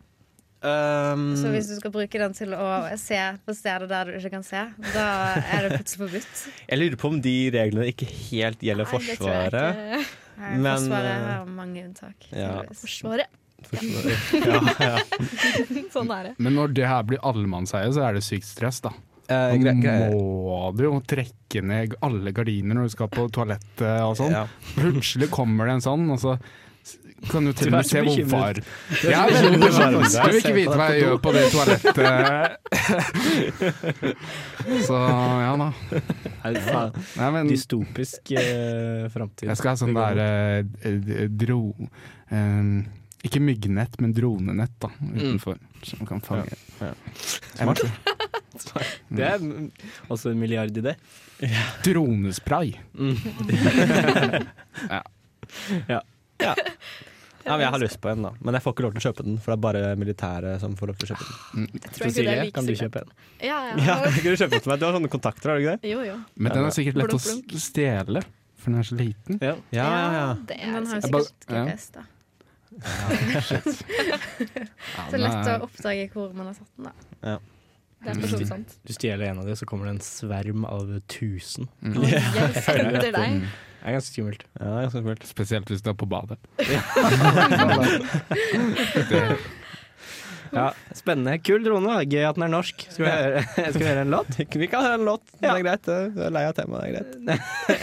[SPEAKER 4] Ehm, Mm.
[SPEAKER 6] Så hvis du skal bruke den til å se på steder der du ikke kan se, da er det plutselig forbudt.
[SPEAKER 4] Jeg lurer på om de reglene ikke helt gjelder
[SPEAKER 5] Nei, det tror jeg
[SPEAKER 4] Forsvaret.
[SPEAKER 5] ikke.
[SPEAKER 6] Nei,
[SPEAKER 4] Men,
[SPEAKER 6] Forsvaret
[SPEAKER 4] eh,
[SPEAKER 6] har mange unntak.
[SPEAKER 4] ja.
[SPEAKER 6] tydeligvis.
[SPEAKER 5] Forsvaret.
[SPEAKER 4] Forsvaret. ja, ja.
[SPEAKER 5] Sånn er det.
[SPEAKER 7] Men når det her blir allemannseie, så er det sykt stress, da.
[SPEAKER 4] Eh,
[SPEAKER 7] Da
[SPEAKER 4] gre gre
[SPEAKER 7] må du jo trekke ned alle gardiner når du skal på toalettet og sånn.
[SPEAKER 4] ja.
[SPEAKER 7] Plutselig kommer det en sånn, og så kan du til og med
[SPEAKER 2] Du
[SPEAKER 7] se
[SPEAKER 2] er så
[SPEAKER 7] hvor
[SPEAKER 2] bekymret.
[SPEAKER 7] var Jeg er veldig bekymret.
[SPEAKER 4] bekymret.
[SPEAKER 7] Jeg vil ikke vite hva jeg
[SPEAKER 2] sånn.
[SPEAKER 7] gjør på det toalettet. Så ja da.
[SPEAKER 2] Nei, faen.
[SPEAKER 7] Nei, men
[SPEAKER 2] Dystopisk eh, framtid.
[SPEAKER 7] jeg skal ha sånn der eh, eh, dro... eh, ikke myggnett, men dronenett da, utenfor, som kan fange.
[SPEAKER 4] Ja, ja.
[SPEAKER 7] Smart. eh,
[SPEAKER 2] Det er mm, også en milliardidé.
[SPEAKER 7] Dronespray.
[SPEAKER 4] ja, men jeg har lyst på en, da. Men jeg får ikke lov til å kjøpe den, for det er bare militære som får lov til å kjøpe den.
[SPEAKER 5] Jeg tror ikke det er
[SPEAKER 2] Cecilie,
[SPEAKER 5] like
[SPEAKER 2] kan du
[SPEAKER 5] sikkert.
[SPEAKER 2] kjøpe en?
[SPEAKER 5] Ja,
[SPEAKER 4] Ja,
[SPEAKER 5] ja.
[SPEAKER 4] kan du kjøpe den til meg? Du har sånne kontakter, har du ikke det?
[SPEAKER 5] Jo, jo.
[SPEAKER 7] Men den er sikkert lett å s-
[SPEAKER 5] Blunk,
[SPEAKER 7] stjele, for den er så liten.
[SPEAKER 2] Ja.
[SPEAKER 4] Ja, ja, ja.
[SPEAKER 5] Det
[SPEAKER 6] Men
[SPEAKER 5] er
[SPEAKER 6] den har jo
[SPEAKER 5] det
[SPEAKER 7] Jeg bare-
[SPEAKER 6] sikkert GPS, da. Så det er mm. lett å oppdage hvor man har satt den, da.
[SPEAKER 5] sikkert. Det er for så vidt sant.
[SPEAKER 2] Du stjeler en av dem, så kommer det en sverm av 1000.
[SPEAKER 5] Å, Jeg støtter deg.
[SPEAKER 2] Det er ganske skummelt.
[SPEAKER 4] ja ganske kult.
[SPEAKER 7] Spesielt hvis du er på badet.
[SPEAKER 2] Ja, Spennende. Kul drone. da. Gøy at den er norsk. Skal vi høre, skal vi høre en låt?
[SPEAKER 4] Vi kan høre en låt, det
[SPEAKER 2] Ja.
[SPEAKER 4] er greit. Du er lei av temaet, det er greit.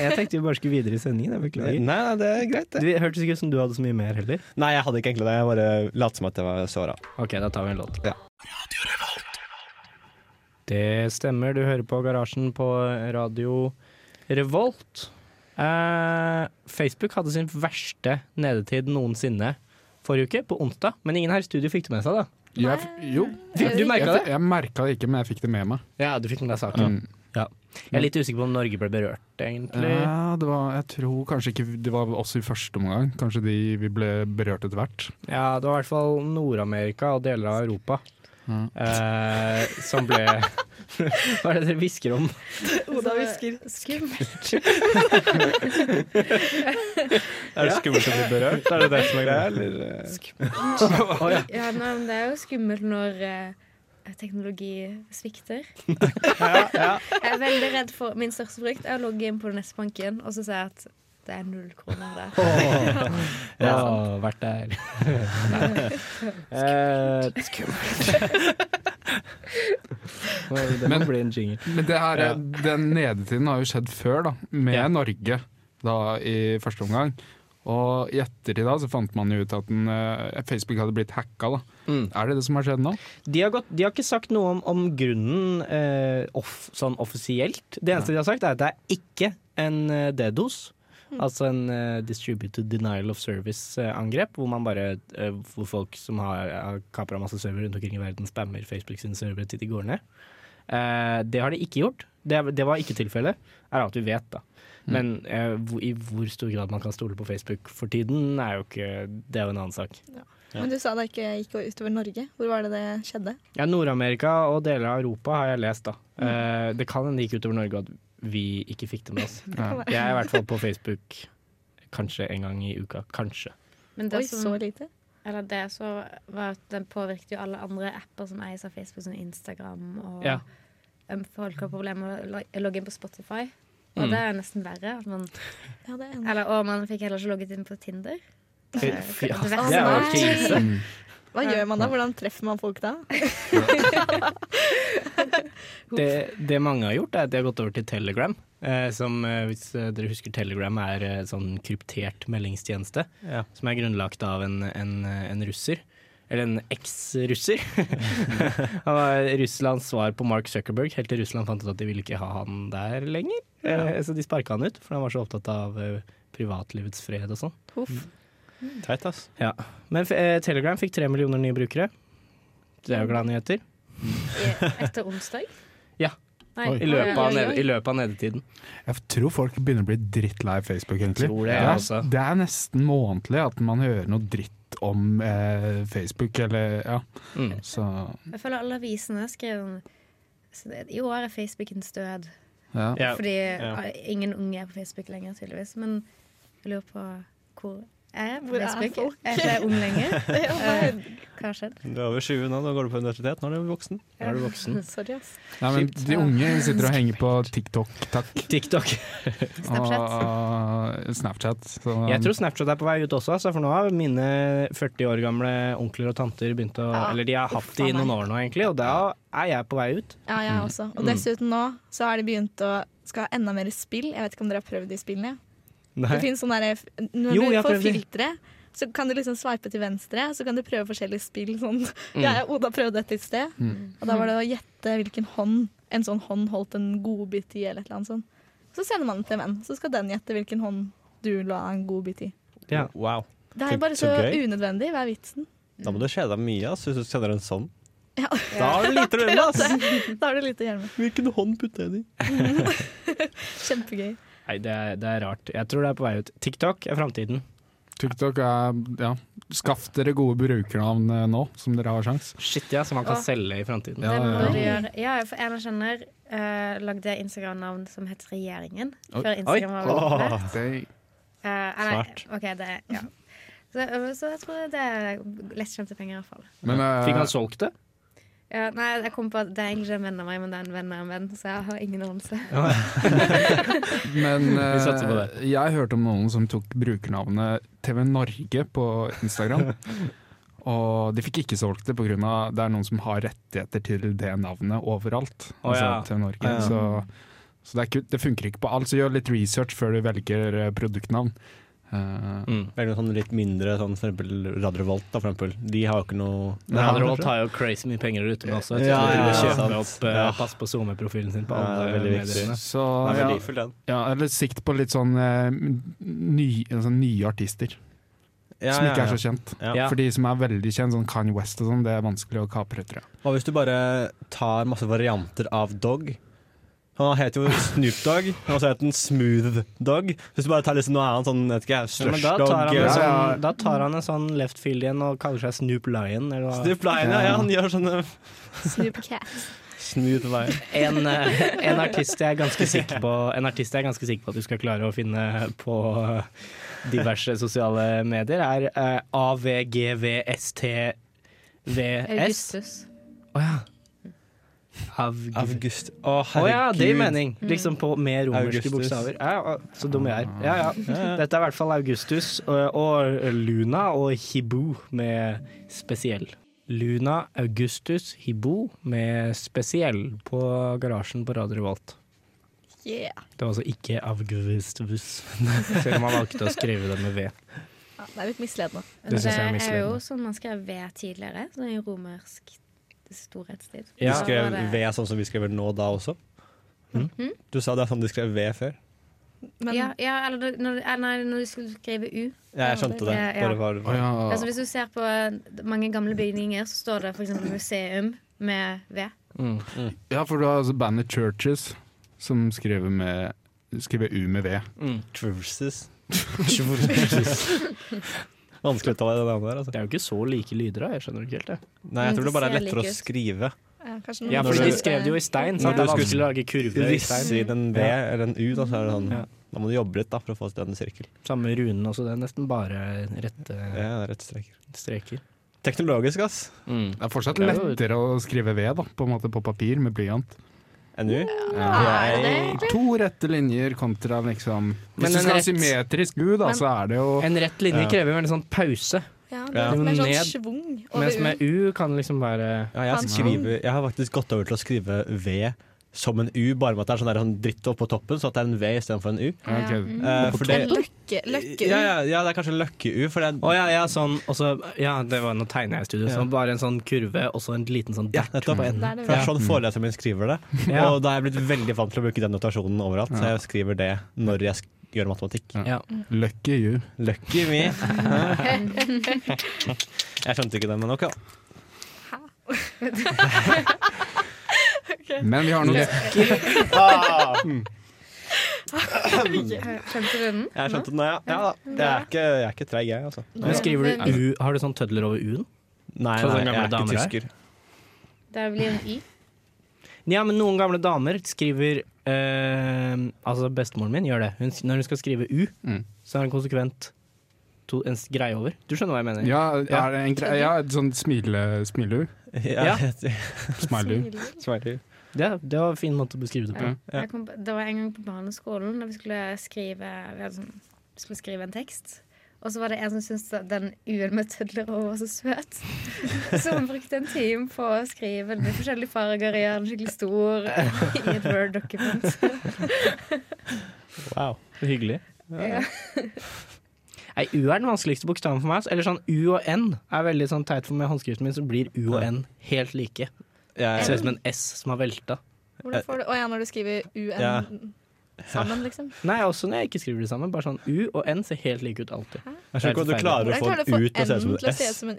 [SPEAKER 2] Jeg tenkte vi bare skulle videre i sendingen. Jeg
[SPEAKER 4] Nei,
[SPEAKER 2] beklager.
[SPEAKER 4] nei, det er greit, det.
[SPEAKER 2] Det hørtes ikke ut som du hadde så mye mer heller.
[SPEAKER 4] Nei, jeg hadde ikke egentlig det. Jeg bare lot som at jeg var såra.
[SPEAKER 2] Ok, da tar vi en låt.
[SPEAKER 4] Ja.
[SPEAKER 2] Det stemmer. Du hører på Garasjen på Radio Revolt. Eh, Facebook hadde sin verste nedetid noensinne forrige uke, på onsdag. Men ingen her i studio fikk det med seg, da.
[SPEAKER 7] Jeg, f- jo,
[SPEAKER 2] Fikk, du merka
[SPEAKER 7] jeg,
[SPEAKER 2] det?
[SPEAKER 7] jeg merka det ikke, men jeg fikk det med meg.
[SPEAKER 2] Ja, du fikk med deg saken.
[SPEAKER 7] Mm.
[SPEAKER 2] Jeg er litt usikker på om Norge ble berørt, egentlig.
[SPEAKER 7] Ja, det var, jeg tror kanskje ikke Det var oss i første omgang. Kanskje de vi ble berørt etter hvert.
[SPEAKER 2] Ja, det var i hvert fall Nord-Amerika og deler av Europa
[SPEAKER 7] Mm.
[SPEAKER 2] eh, som ble Hva er det dere hvisker om?
[SPEAKER 5] Oda hvisker.
[SPEAKER 6] Skummelt.
[SPEAKER 4] Er det skummelt å bli berørt? Er det det som er greia, eller?
[SPEAKER 6] Ja, nei, men det er jo skummelt når eh, teknologi svikter. Jeg er veldig redd for Min største frykt er å logge inn på den neste banken og så se at det er null kroner der.
[SPEAKER 2] Ja, vært der. Eh, Skummelt. Skummelt. Det må
[SPEAKER 7] Men-
[SPEAKER 2] bli en jingle.
[SPEAKER 7] Men det her,
[SPEAKER 2] Ja.
[SPEAKER 7] den nedetiden har jo skjedd før, da. Med
[SPEAKER 2] Ja.
[SPEAKER 7] Norge da i første omgang. Og i ettertid da så fant man jo ut at den, eh, Facebook hadde blitt hacka. da
[SPEAKER 2] Mm.
[SPEAKER 7] Er det det som har skjedd nå?
[SPEAKER 2] De har, gått, de har ikke sagt noe om, om grunnen eh, off, sånn offisielt. Det eneste de har sagt, er at det er ikke en eh, DDoS. Altså en eh, distributed denial of service-angrep, hvor man bare eh, hvor folk som har, har kapra masse servere rundt omkring i verden, spammer Facebook sine servere til de går ned. Eh, det har de ikke gjort. Det, det var ikke tilfellet, er alt vi vet, da. Men eh, hvor, i hvor stor grad man kan stole på Facebook for tiden, er jo ikke Det er jo en annen sak.
[SPEAKER 5] Men du sa det ikke gikk utover Norge. Hvor var det det skjedde?
[SPEAKER 2] Ja, Nord-Amerika og deler av Europa har jeg lest, da. Eh, det kan hende det gikk utover Norge at vi ikke fikk det med oss.
[SPEAKER 7] Ja.
[SPEAKER 2] Jeg er i hvert fall på Facebook kanskje en gang i uka. Kanskje.
[SPEAKER 6] Men
[SPEAKER 5] Oi,
[SPEAKER 6] det
[SPEAKER 5] så
[SPEAKER 6] som,
[SPEAKER 5] lite.
[SPEAKER 6] eller det som var at den påvirket jo alle andre apper som eies av Facebook, som Instagram og
[SPEAKER 2] Ja.
[SPEAKER 6] um, Folk har problemer med å lo- logge inn på Spotify. Og
[SPEAKER 2] Mm.
[SPEAKER 6] det er jo nesten verre. At man,
[SPEAKER 5] Ja, det er en-
[SPEAKER 6] eller, og man fikk heller ikke logget inn på Tinder. Det er-
[SPEAKER 2] Fy- fy-
[SPEAKER 6] det
[SPEAKER 5] Å,
[SPEAKER 6] verste
[SPEAKER 2] det er jo
[SPEAKER 5] nei.
[SPEAKER 2] krise.
[SPEAKER 7] Mm.
[SPEAKER 5] Hva gjør man da? Hvordan treffer man folk da?
[SPEAKER 2] Det, det mange har gjort, er at de har gått over til Telegram. eh, som, eh, hvis eh, dere husker, Telegram er eh, sånn kryptert meldingstjeneste.
[SPEAKER 4] Ja.
[SPEAKER 2] som er grunnlagt av en, en, en russer. Eller en eks-russer. han var Russlands svar på Mark Zuckerberg, helt til Russland fant ut at de ville ikke ha han der lenger. Eh, Så de sparka han ut, for han var så opptatt av eh, privatlivets fred og sånn.
[SPEAKER 5] Huff.
[SPEAKER 4] Teit, ass.
[SPEAKER 2] Men f- eh, Telegram fikk tre millioner nye brukere. Det er jo glade nyheter.
[SPEAKER 6] I- Etter onsdag?
[SPEAKER 2] Ja.
[SPEAKER 6] Nei,
[SPEAKER 7] Oi.
[SPEAKER 2] I løpet av,
[SPEAKER 6] oi, oi,
[SPEAKER 2] ned,
[SPEAKER 6] oi.
[SPEAKER 2] i løpet av nedetiden.
[SPEAKER 7] Jeg tror folk begynner å bli drittlei Facebook, egentlig.
[SPEAKER 2] Tror det, altså.
[SPEAKER 7] det,
[SPEAKER 2] jeg også.
[SPEAKER 7] er, det er nesten månedlig at man hører noe dritt om eh, Facebook, eller ja.
[SPEAKER 2] Mm.
[SPEAKER 7] Så
[SPEAKER 6] Jeg føler alle avisene skrev om så det- I år er Facebookens død.
[SPEAKER 7] ja.
[SPEAKER 4] Ja.
[SPEAKER 6] Fordi ah, ingen unge er på Facebook lenger, tydeligvis. Men jeg lurer på hvor er jeg på
[SPEAKER 5] Hvor er
[SPEAKER 6] Facebook?
[SPEAKER 5] folk?
[SPEAKER 6] Er ikke jeg ung lenger? Eh, Hva har skjedd?
[SPEAKER 4] Du er over 20 nå, da går du på universitet. Nå er du voksen.
[SPEAKER 2] Nå er du voksen.
[SPEAKER 5] Sorry, ass.
[SPEAKER 7] Nei, men de unge sitter og henger på TikTok, takk.
[SPEAKER 2] TikTok.
[SPEAKER 6] Snapchat.
[SPEAKER 7] Og, og Snapchat. Så, um,
[SPEAKER 2] Jeg tror Snapchat er på vei ut også, altså, for nå har mine 40 år gamle onkler og tanter begynt å
[SPEAKER 5] Ja,
[SPEAKER 2] Eller de har hatt
[SPEAKER 5] uff,
[SPEAKER 2] det i
[SPEAKER 5] faen
[SPEAKER 2] noen
[SPEAKER 5] meg.
[SPEAKER 2] år nå, egentlig, og da er jeg på vei ut.
[SPEAKER 5] Ja, jeg også. Og dessuten nå så har de begynt å skal ha enda mer spill. Jeg vet ikke om dere har prøvd de spillene. Det finnes sånne der, eh, Når
[SPEAKER 2] Jo,
[SPEAKER 5] du
[SPEAKER 2] jeg har
[SPEAKER 5] får
[SPEAKER 2] prøvd de.
[SPEAKER 5] filtre, så kan du liksom sveipe til venstre, så kan du prøve forskjellige spill. Sånn.
[SPEAKER 2] Mm.
[SPEAKER 5] Jeg og Oda prøvde et litt sted, og da
[SPEAKER 4] Mm.
[SPEAKER 5] var det å gjette hvilken hånd En sånn hånd holdt en godbit i, eller et eller annet sånt. Så sender man den til en venn, så skal den gjette hvilken hånd du la en godbit i.
[SPEAKER 2] Ja.
[SPEAKER 4] Wow.
[SPEAKER 5] Det er jo bare
[SPEAKER 4] Så
[SPEAKER 5] så
[SPEAKER 4] gøy.
[SPEAKER 5] unødvendig. Hva er vitsen?
[SPEAKER 4] Da må du kjede deg mye ass, hvis du kjenner en sånn.
[SPEAKER 5] Ja.
[SPEAKER 4] Da har du lite å gjøre med, ass.
[SPEAKER 5] Da har du lite å gjøre med.
[SPEAKER 4] Hvilken hånd putter jeg den i?
[SPEAKER 5] Kjempegøy.
[SPEAKER 2] Nei, det er, det er rart. Jeg tror det er på vei ut. TikTok er framtiden.
[SPEAKER 7] TikTok er ja. Skaff dere gode brukernavn eh, nå, som dere har sjans.
[SPEAKER 2] Shit, ja, som man kan
[SPEAKER 6] Åh.
[SPEAKER 2] selge i framtiden.
[SPEAKER 7] Ja,
[SPEAKER 6] det må
[SPEAKER 7] ja.
[SPEAKER 6] du gjøre. Ja, for en jeg kjenner, eh, lagde Instagram-navn som het Regjeringen.
[SPEAKER 7] Oi.
[SPEAKER 6] Før Instagram var veldig populært.
[SPEAKER 2] Ah.
[SPEAKER 7] Det-
[SPEAKER 6] Eh, nei,
[SPEAKER 4] Smart.
[SPEAKER 6] OK, det Ja. Så, eh, så jeg tror det er lettkjente penger, i hvert fall.
[SPEAKER 7] Men eh,
[SPEAKER 2] Fikk han solgt det?
[SPEAKER 6] Ja, nei, jeg kom på at det er egentlig ikke en venn av meg, men det er en venn av en venn, så jeg har ingen anelse.
[SPEAKER 7] Men
[SPEAKER 2] Vi satser på det.
[SPEAKER 7] eh, jeg hørte om noen som tok brukernavnet TV Norge på Instagram. Og de fikk ikke solgt det pga. det er noen som har rettigheter til det navnet overalt.
[SPEAKER 2] Å,
[SPEAKER 7] altså
[SPEAKER 2] ja.
[SPEAKER 7] TV Norge.
[SPEAKER 4] Ja, ja.
[SPEAKER 7] Så, så det, er ikke, det funker ikke på alt. Så gjør litt research før du velger eh, produktnavn. Eh,
[SPEAKER 2] Mm.
[SPEAKER 4] Velg noe sånn litt mindre, sånn for eksempel Radio Revolt, da, for eksempel. De har jo ikke noe
[SPEAKER 2] Men han Rolt har jo crazy mye penger ute med også. Jeg
[SPEAKER 4] Ja,
[SPEAKER 2] tror de
[SPEAKER 4] ja,
[SPEAKER 2] må
[SPEAKER 4] ja,
[SPEAKER 2] kjøpe
[SPEAKER 4] sant.
[SPEAKER 2] opp, eh,
[SPEAKER 4] Ja.
[SPEAKER 2] Pass på SoMe-profilen sin på
[SPEAKER 4] Ja,
[SPEAKER 2] alle
[SPEAKER 4] det er veldig viktig.
[SPEAKER 2] mediene.
[SPEAKER 7] så
[SPEAKER 4] Den er
[SPEAKER 7] ja,
[SPEAKER 4] verdifull, den.
[SPEAKER 7] ja, eller sikt på litt sånn eh, ny, altså, nye artister som ikke er så kjent.
[SPEAKER 4] Ja.
[SPEAKER 2] Ja.
[SPEAKER 7] For de som er veldig kjent, sånn Kanye West og sånn, det er vanskelig å kapre, tror jeg.
[SPEAKER 4] Hva hvis du bare tar masse varianter av dog? Han heter jo Snoop Dogg, og så heter han Smooth Dogg. Hvis du bare tar liksom noe annet, sånn vet ikke jeg,
[SPEAKER 2] Ja, men
[SPEAKER 4] Slush
[SPEAKER 2] da tar,
[SPEAKER 4] Dogg
[SPEAKER 2] han en
[SPEAKER 4] eh,
[SPEAKER 7] Ja, ja.
[SPEAKER 2] sånn, da tar han en sånn left field igjen og kaller seg Snoop Lion. Eller hva?
[SPEAKER 4] Snoop Lion, ja, ja, han gjør sånne
[SPEAKER 5] Snoop Cat.
[SPEAKER 4] Smooth Lion.
[SPEAKER 2] En, eh, en, artist jeg er ganske sikker på, en artist jeg er ganske sikker på at du skal klare å finne på eh, diverse sosiale medier, er eh, AVGVSTVS.
[SPEAKER 6] Augustus.
[SPEAKER 2] Å ja. Avg-
[SPEAKER 4] August.
[SPEAKER 2] Å
[SPEAKER 4] Å, herregud.
[SPEAKER 2] ja, det gir mening. Liksom på med romerske
[SPEAKER 4] Augustus. Mm.
[SPEAKER 2] bokstaver. Ja, ja, så dum jeg er. Ja, ja. Dette er i hvert fall Augustus og, og Luna og Hibu med spesiell. Luna, Augustus, Hibu med spesiell på garasjen på Radio Revolt.
[SPEAKER 5] Yeah.
[SPEAKER 2] Det var altså ikke Augustus, selv om han valgte å skrive det med V.
[SPEAKER 5] Ja, det er litt misledende.
[SPEAKER 2] Det synes jeg er
[SPEAKER 6] er jo
[SPEAKER 2] misledende.
[SPEAKER 6] sånn man skrev V tidligere, så det er jo romersk storhetstid.
[SPEAKER 2] Ja.
[SPEAKER 4] Du skrev
[SPEAKER 6] Da var
[SPEAKER 4] V
[SPEAKER 6] det- Hm?
[SPEAKER 4] sånn som vi skriver nå da også? Hm? Du sa det er sånn de skrev V før.
[SPEAKER 5] Men
[SPEAKER 6] Ja, ja, eller det- når, eh, nei, når du skulle skrive U.
[SPEAKER 4] Ja, jeg skjønte det.
[SPEAKER 6] Ja, ja.
[SPEAKER 4] Bare var,
[SPEAKER 7] Å, ja.
[SPEAKER 6] Altså, hvis du ser på eh, mange gamle bygninger, så står det f.eks. museum med V.
[SPEAKER 4] Mm. Hm.
[SPEAKER 7] Ja, for du har altså bandet Churches, som skriver, med, skriver U med V.
[SPEAKER 4] Mm. Truces. Vanskelig å ta i det navnet der, altså.
[SPEAKER 2] Det er jo ikke så like lyder, da. Jeg skjønner ikke helt det.
[SPEAKER 4] Nei, jeg
[SPEAKER 6] Men
[SPEAKER 4] tror
[SPEAKER 6] Mm, det
[SPEAKER 4] det bare er
[SPEAKER 6] ser
[SPEAKER 4] lettere
[SPEAKER 6] like
[SPEAKER 4] å
[SPEAKER 6] ut.
[SPEAKER 4] skrive.
[SPEAKER 5] ja, kanskje
[SPEAKER 2] Ja,
[SPEAKER 5] noen-
[SPEAKER 2] for de skrev det jo i stein, så
[SPEAKER 4] Ja.
[SPEAKER 2] det er vanskelig å lage kurver i
[SPEAKER 4] Risse
[SPEAKER 2] stein.
[SPEAKER 4] i den V
[SPEAKER 2] Ja.
[SPEAKER 4] eller en U, da, så er det sånn
[SPEAKER 2] Ja.
[SPEAKER 4] Da må du jobbe litt da, for å få til en sirkel.
[SPEAKER 2] Samme runen også, det er nesten bare rette
[SPEAKER 4] Ja, rett streker.
[SPEAKER 2] streker.
[SPEAKER 4] Teknologisk, ass.
[SPEAKER 7] Det er fortsatt
[SPEAKER 2] Det er jo-
[SPEAKER 7] lettere å skrive V da, på en måte på papir med blyant.
[SPEAKER 4] En U.
[SPEAKER 5] Er det det?
[SPEAKER 7] To rette linjer kontra liksom
[SPEAKER 2] Men
[SPEAKER 7] Hvis du
[SPEAKER 2] en
[SPEAKER 7] skal ha
[SPEAKER 2] rett-
[SPEAKER 7] symmetrisk U, da,
[SPEAKER 5] Men-
[SPEAKER 7] så er det jo
[SPEAKER 2] En rett linje
[SPEAKER 4] Ja.
[SPEAKER 2] krever jo en sånn pause,
[SPEAKER 5] Ja, det
[SPEAKER 4] Ja.
[SPEAKER 5] er litt mer sånn
[SPEAKER 2] Ned.
[SPEAKER 5] schwung over
[SPEAKER 2] mens med U kan liksom være
[SPEAKER 4] Ja, jeg,
[SPEAKER 5] Fantastisk.
[SPEAKER 4] skriver, jeg har faktisk gått over til å skrive V som en U, bare med at det er sånn, der, sånn dritt opp på toppen, så at det er en V istedenfor en U.
[SPEAKER 7] Ja, ok.
[SPEAKER 6] Mm.
[SPEAKER 4] Eh,
[SPEAKER 7] På
[SPEAKER 4] for
[SPEAKER 5] En
[SPEAKER 4] det-
[SPEAKER 5] løkke, løkke
[SPEAKER 4] Ja, ja, ja, det er kanskje Løkke-U, for det er
[SPEAKER 2] Å ja, ja, sånn, og så, ja, det var noe tegner jeg i studio.
[SPEAKER 4] Ja.
[SPEAKER 2] Så bare en sånn kurve og så en liten sånn
[SPEAKER 4] Ja,
[SPEAKER 2] dert
[SPEAKER 4] nettopp.
[SPEAKER 2] på enden.
[SPEAKER 5] Der er det
[SPEAKER 4] For det er
[SPEAKER 5] vel.
[SPEAKER 4] sånn foreleseren min skriver det.
[SPEAKER 2] Ja.
[SPEAKER 4] Og da er jeg blitt veldig vant til å bruke den notasjonen overalt, så jeg skriver det når jeg sk- gjør matematikk.
[SPEAKER 7] Ja.
[SPEAKER 2] Ja.
[SPEAKER 7] Lucky you.
[SPEAKER 4] Lucky me! Jeg skjønte ikke den, men ok.
[SPEAKER 7] Men vi har noe
[SPEAKER 4] Ah!
[SPEAKER 6] Skjønte du
[SPEAKER 4] Jeg
[SPEAKER 6] den?
[SPEAKER 4] skjønte den, ja. ja da. jeg, er ikke, jeg er ikke treig, jeg, altså.
[SPEAKER 2] Men skriver du U Har du sånn tødler over U-en?
[SPEAKER 4] Nei,
[SPEAKER 2] Sånn
[SPEAKER 4] nei,
[SPEAKER 2] som
[SPEAKER 4] jeg
[SPEAKER 2] gamle
[SPEAKER 4] er ikke
[SPEAKER 2] damer er.
[SPEAKER 4] tysker.
[SPEAKER 6] Det blir en Y.
[SPEAKER 2] Ja, men noen gamle damer skriver eh, Altså, bestemoren min gjør det. Hun, s- når hun skal skrive U,
[SPEAKER 7] Mm.
[SPEAKER 2] så er hun konsekvent to, en s- greie over. Du skjønner hva jeg mener?
[SPEAKER 7] Ja, er det en gre ja et sånt smile, smileur.
[SPEAKER 4] Ja.
[SPEAKER 7] Smileur.
[SPEAKER 4] Sverre.
[SPEAKER 2] Det, det var en fin måte å beskrive det på.
[SPEAKER 7] Ja.
[SPEAKER 4] Ja.
[SPEAKER 6] Jeg kom, på- det var en gang på barneskolen da vi skulle skrive, vi hadde sånn, skulle skrive en tekst. Og så var det en som syntes at den U-en med tødler over var så søt. Så hun brukte en time på å skrive den i forskjellige farger, gjøre den skikkelig stor i et Word-dokument.
[SPEAKER 4] Wow. Hyggelig.
[SPEAKER 6] Ja.
[SPEAKER 2] Nei, U er den vanskeligste bokstaven for meg. Eller sånn U og N er veldig sånn teit for meg. i Håndskriften min så blir U og N helt like. Det ser ut
[SPEAKER 4] Jeg,
[SPEAKER 2] som en S som har velta.
[SPEAKER 5] Hvordan får du Å ja, når du skriver UN
[SPEAKER 4] Ja.
[SPEAKER 5] sammen, liksom.
[SPEAKER 2] Nei, også når jeg ikke skriver det sammen. Bare sånn U og N ser helt like ut alltid.
[SPEAKER 4] jeg skjønner ikke hvordan du klarer å
[SPEAKER 5] Hvordan
[SPEAKER 4] få
[SPEAKER 5] klarer du å
[SPEAKER 4] en U
[SPEAKER 5] få
[SPEAKER 4] til å se ut som
[SPEAKER 5] N til å
[SPEAKER 4] en
[SPEAKER 5] se ut
[SPEAKER 4] S.
[SPEAKER 5] som en U?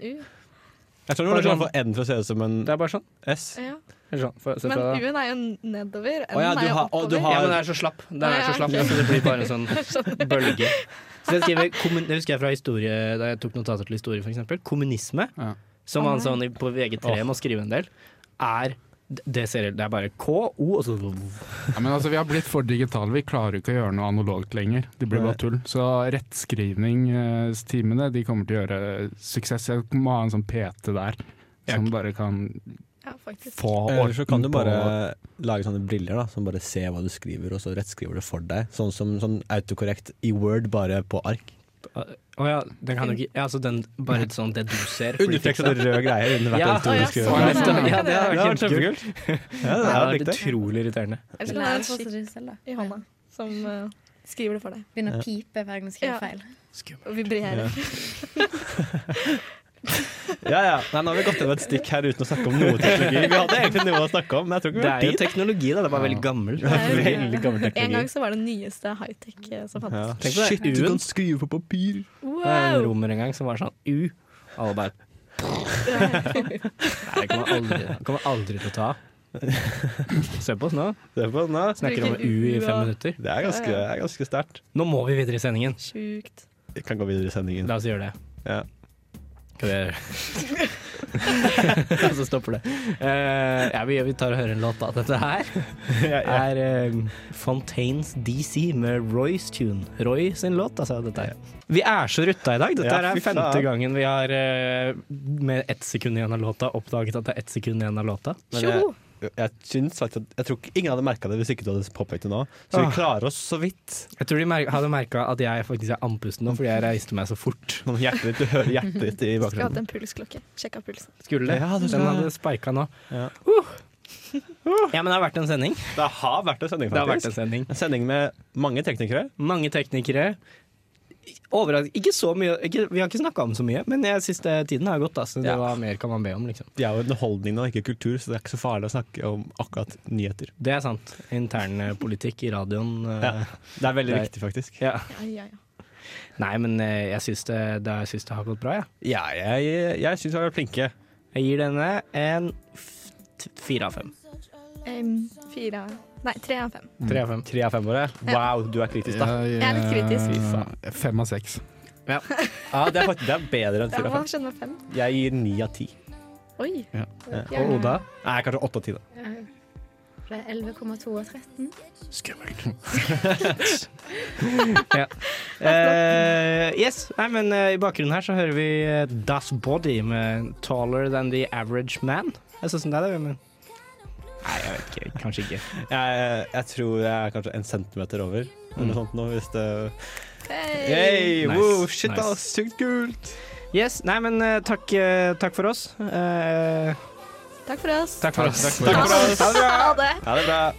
[SPEAKER 4] Jeg tror du klarer å få N til å se ut som en
[SPEAKER 2] Det er bare sånn.
[SPEAKER 4] S.
[SPEAKER 5] Ja.
[SPEAKER 2] Eller sånn. Får jeg se
[SPEAKER 5] Men
[SPEAKER 2] fra-
[SPEAKER 5] U-en er jo nedover.
[SPEAKER 4] Å ja,
[SPEAKER 5] N-en
[SPEAKER 4] du
[SPEAKER 5] er jo
[SPEAKER 4] har- å, du
[SPEAKER 5] oppover.
[SPEAKER 4] har-
[SPEAKER 2] Ja, men den er så slapp. Den er så slapp, så det blir bare en sånn bølge. Så jeg skriver, kommun- det husker jeg fra historie, da jeg tok notater til historie, for eksempel. Kommunisme,
[SPEAKER 7] Ja.
[SPEAKER 2] som man sånn i- på VG3 må skrive en del, er det, ser, det er bare K, O og så
[SPEAKER 7] Ja, men altså, vi har blitt for digitale. Vi klarer jo ikke å gjøre noe analogt lenger. Det blir
[SPEAKER 4] Nei.
[SPEAKER 7] bare tull. Så rettskrivningstimene de kommer til å gjøre suksess. Jeg må ha en sånn PT der som bare kan
[SPEAKER 5] Ja, faktisk.
[SPEAKER 7] få
[SPEAKER 4] Eller Eh, så kan du
[SPEAKER 7] orden
[SPEAKER 4] bare
[SPEAKER 7] på-
[SPEAKER 4] lage sånne briller da, som bare ser hva du skriver, og så rettskriver det for deg. Sånn som sånn autokorrekt i Word, bare på ark.
[SPEAKER 2] Å ja, den kan jo ikke Ja, altså den bare sånn det du ser. fordi-
[SPEAKER 4] Undertrekk sånne røde greier under hvert
[SPEAKER 2] Ja,
[SPEAKER 4] eneste ord
[SPEAKER 5] å,
[SPEAKER 4] du
[SPEAKER 5] ja,
[SPEAKER 4] skriver.
[SPEAKER 2] Ja,
[SPEAKER 5] sånn,
[SPEAKER 2] det hadde
[SPEAKER 4] Ja,
[SPEAKER 2] vært kjempekult.
[SPEAKER 4] Ja, det er
[SPEAKER 2] Det
[SPEAKER 4] helt
[SPEAKER 2] er
[SPEAKER 4] riktig.
[SPEAKER 2] utrolig irriterende.
[SPEAKER 5] Eller så kan det
[SPEAKER 6] Så kan jeg
[SPEAKER 5] være en
[SPEAKER 6] fortsette
[SPEAKER 5] skikk
[SPEAKER 6] det selv, da.
[SPEAKER 5] i hånda som eh, skriver det for deg.
[SPEAKER 6] Begynne
[SPEAKER 4] Ja.
[SPEAKER 6] å pipe hver gang du skriver
[SPEAKER 5] Ja.
[SPEAKER 6] feil.
[SPEAKER 5] Og vibrerer.
[SPEAKER 4] Ja, ja. Nei, nå har vi gått gjennom et stikk her uten å snakke om noe teknologi. Vi hadde egentlig noe å snakke om, men jeg tror ikke
[SPEAKER 2] Det
[SPEAKER 4] vi
[SPEAKER 2] er jo
[SPEAKER 4] har tid.
[SPEAKER 2] teknologi, da. Det er bare veldig gammel.
[SPEAKER 5] Det er jo-
[SPEAKER 4] Veldig gammel
[SPEAKER 5] En gang
[SPEAKER 4] teknologi.
[SPEAKER 5] så var det nyeste high-tech eh, som
[SPEAKER 4] Ja.
[SPEAKER 5] fantes.
[SPEAKER 2] Tenk på det. U-en.
[SPEAKER 4] skrive på papir!
[SPEAKER 2] Det er en romer en gang som var sånn U. Alle bare Nei, det kommer aldri, det kommer aldri til å ta. Se på oss nå.
[SPEAKER 4] Se på den, da.
[SPEAKER 2] Snakker om U i fem minutter.
[SPEAKER 4] Det er ganske, det er ganske sterkt.
[SPEAKER 2] Nå må vi videre i sendingen.
[SPEAKER 5] Sjukt.
[SPEAKER 4] Vi kan gå videre i sendingen.
[SPEAKER 2] La oss gjøre det.
[SPEAKER 4] Ja.
[SPEAKER 2] Skal vi gjøre Og så stopper det. Eh, ja, vi, vi tar og hører en låt, da. Dette her
[SPEAKER 4] Ja, ja.
[SPEAKER 2] er eh, Fontaines DC med Roys tune. Roy sin låt, altså. Dette her. Vi er så rutta i dag. Dette
[SPEAKER 4] Ja,
[SPEAKER 2] her
[SPEAKER 4] fy
[SPEAKER 2] er
[SPEAKER 4] faen.
[SPEAKER 2] femte gangen vi har, eh, med ett sekund igjen av låta, oppdaget at det er ett sekund igjen av låta.
[SPEAKER 4] Men jeg, jeg, syns faktisk at, jeg tror ikke ingen hadde merka det hvis ikke du hadde påpekt det nå. Så vi
[SPEAKER 2] Ah.
[SPEAKER 4] klarer oss så vidt.
[SPEAKER 2] Jeg tror de mer hadde merka at jeg faktisk er andpusten nå, fordi jeg reiste meg så fort.
[SPEAKER 4] Sånn hjertet ditt, du hører hjertet ditt i
[SPEAKER 5] Skulle hatt
[SPEAKER 4] bakgrunnen.
[SPEAKER 5] en pulsklokke. Sjekka pulsen.
[SPEAKER 2] Skulle det?
[SPEAKER 4] Ja, det
[SPEAKER 2] Den
[SPEAKER 4] skulle jeg.
[SPEAKER 2] hadde spika nå.
[SPEAKER 4] Ja.
[SPEAKER 2] Uh. ja, men det har vært en sending.
[SPEAKER 4] Det har vært en sending,
[SPEAKER 2] Det har vært
[SPEAKER 4] faktisk.
[SPEAKER 2] en sending.
[SPEAKER 4] En sending med mange teknikere.
[SPEAKER 2] Mange teknikere. Overrask- Ikke så mye, ikke, vi har ikke snakka om så mye, men jeg siste tiden har gått. da, Så det
[SPEAKER 4] Ja.
[SPEAKER 2] var mer kan man be om, liksom.
[SPEAKER 4] De er jo underholdning nå, ikke kultur, så det er ikke så farlig å snakke om akkurat nyheter.
[SPEAKER 2] Det er sant. Internpolitikk i radioen. eh,
[SPEAKER 4] Ja. Det er veldig
[SPEAKER 2] Det er-
[SPEAKER 4] viktig, faktisk.
[SPEAKER 2] Ja.
[SPEAKER 5] Ja, ja, ja.
[SPEAKER 2] Nei, men eh, jeg syns det, det, jeg syns det har gått bra, jeg.
[SPEAKER 4] Ja, jeg, jeg syns vi har vært flinke.
[SPEAKER 2] Jeg gir denne en f- t- fire av fem.
[SPEAKER 5] Em, fire av Nei, tre av fem.
[SPEAKER 2] Tre av fem.
[SPEAKER 4] Mm. Tre av fem våre. Wow, du er kritisk, da.
[SPEAKER 7] Jeg,
[SPEAKER 5] Jeg er litt kritisk.
[SPEAKER 7] eh, Fem av seks.
[SPEAKER 4] Ja, det, er faktisk, det er bedre enn
[SPEAKER 5] Ja,
[SPEAKER 4] fire av
[SPEAKER 5] hva
[SPEAKER 4] fem.
[SPEAKER 5] skjønner med fem?
[SPEAKER 4] Jeg gir ni av ti.
[SPEAKER 5] Oi.
[SPEAKER 7] Ja.
[SPEAKER 5] Ja.
[SPEAKER 2] Og Oda?
[SPEAKER 4] Nei, kanskje åtte av ti, da.
[SPEAKER 6] Det er 11,2 og 13.
[SPEAKER 7] Skummelt.
[SPEAKER 2] Eh, yes, Nei, men eh, I bakgrunnen her så hører vi eh, Das Body med 'Taller Than The Average Man'. Jeg syns den er det, men Nei, jeg vet ikke. Kanskje ikke.
[SPEAKER 4] Jeg, jeg tror jeg er kanskje en centimeter over. Eller noe sånt nå, hvis det
[SPEAKER 5] Hey.
[SPEAKER 4] Hey,
[SPEAKER 2] Nice,
[SPEAKER 4] wow, shit,
[SPEAKER 2] nice.
[SPEAKER 4] da. Sykt kult.
[SPEAKER 2] Yes, Nei, men eh, takk, eh, takk for oss. Eh,
[SPEAKER 5] Takk for oss.
[SPEAKER 2] takk for oss.
[SPEAKER 4] Takk for oss.
[SPEAKER 5] Ha det.
[SPEAKER 4] Ha det bra.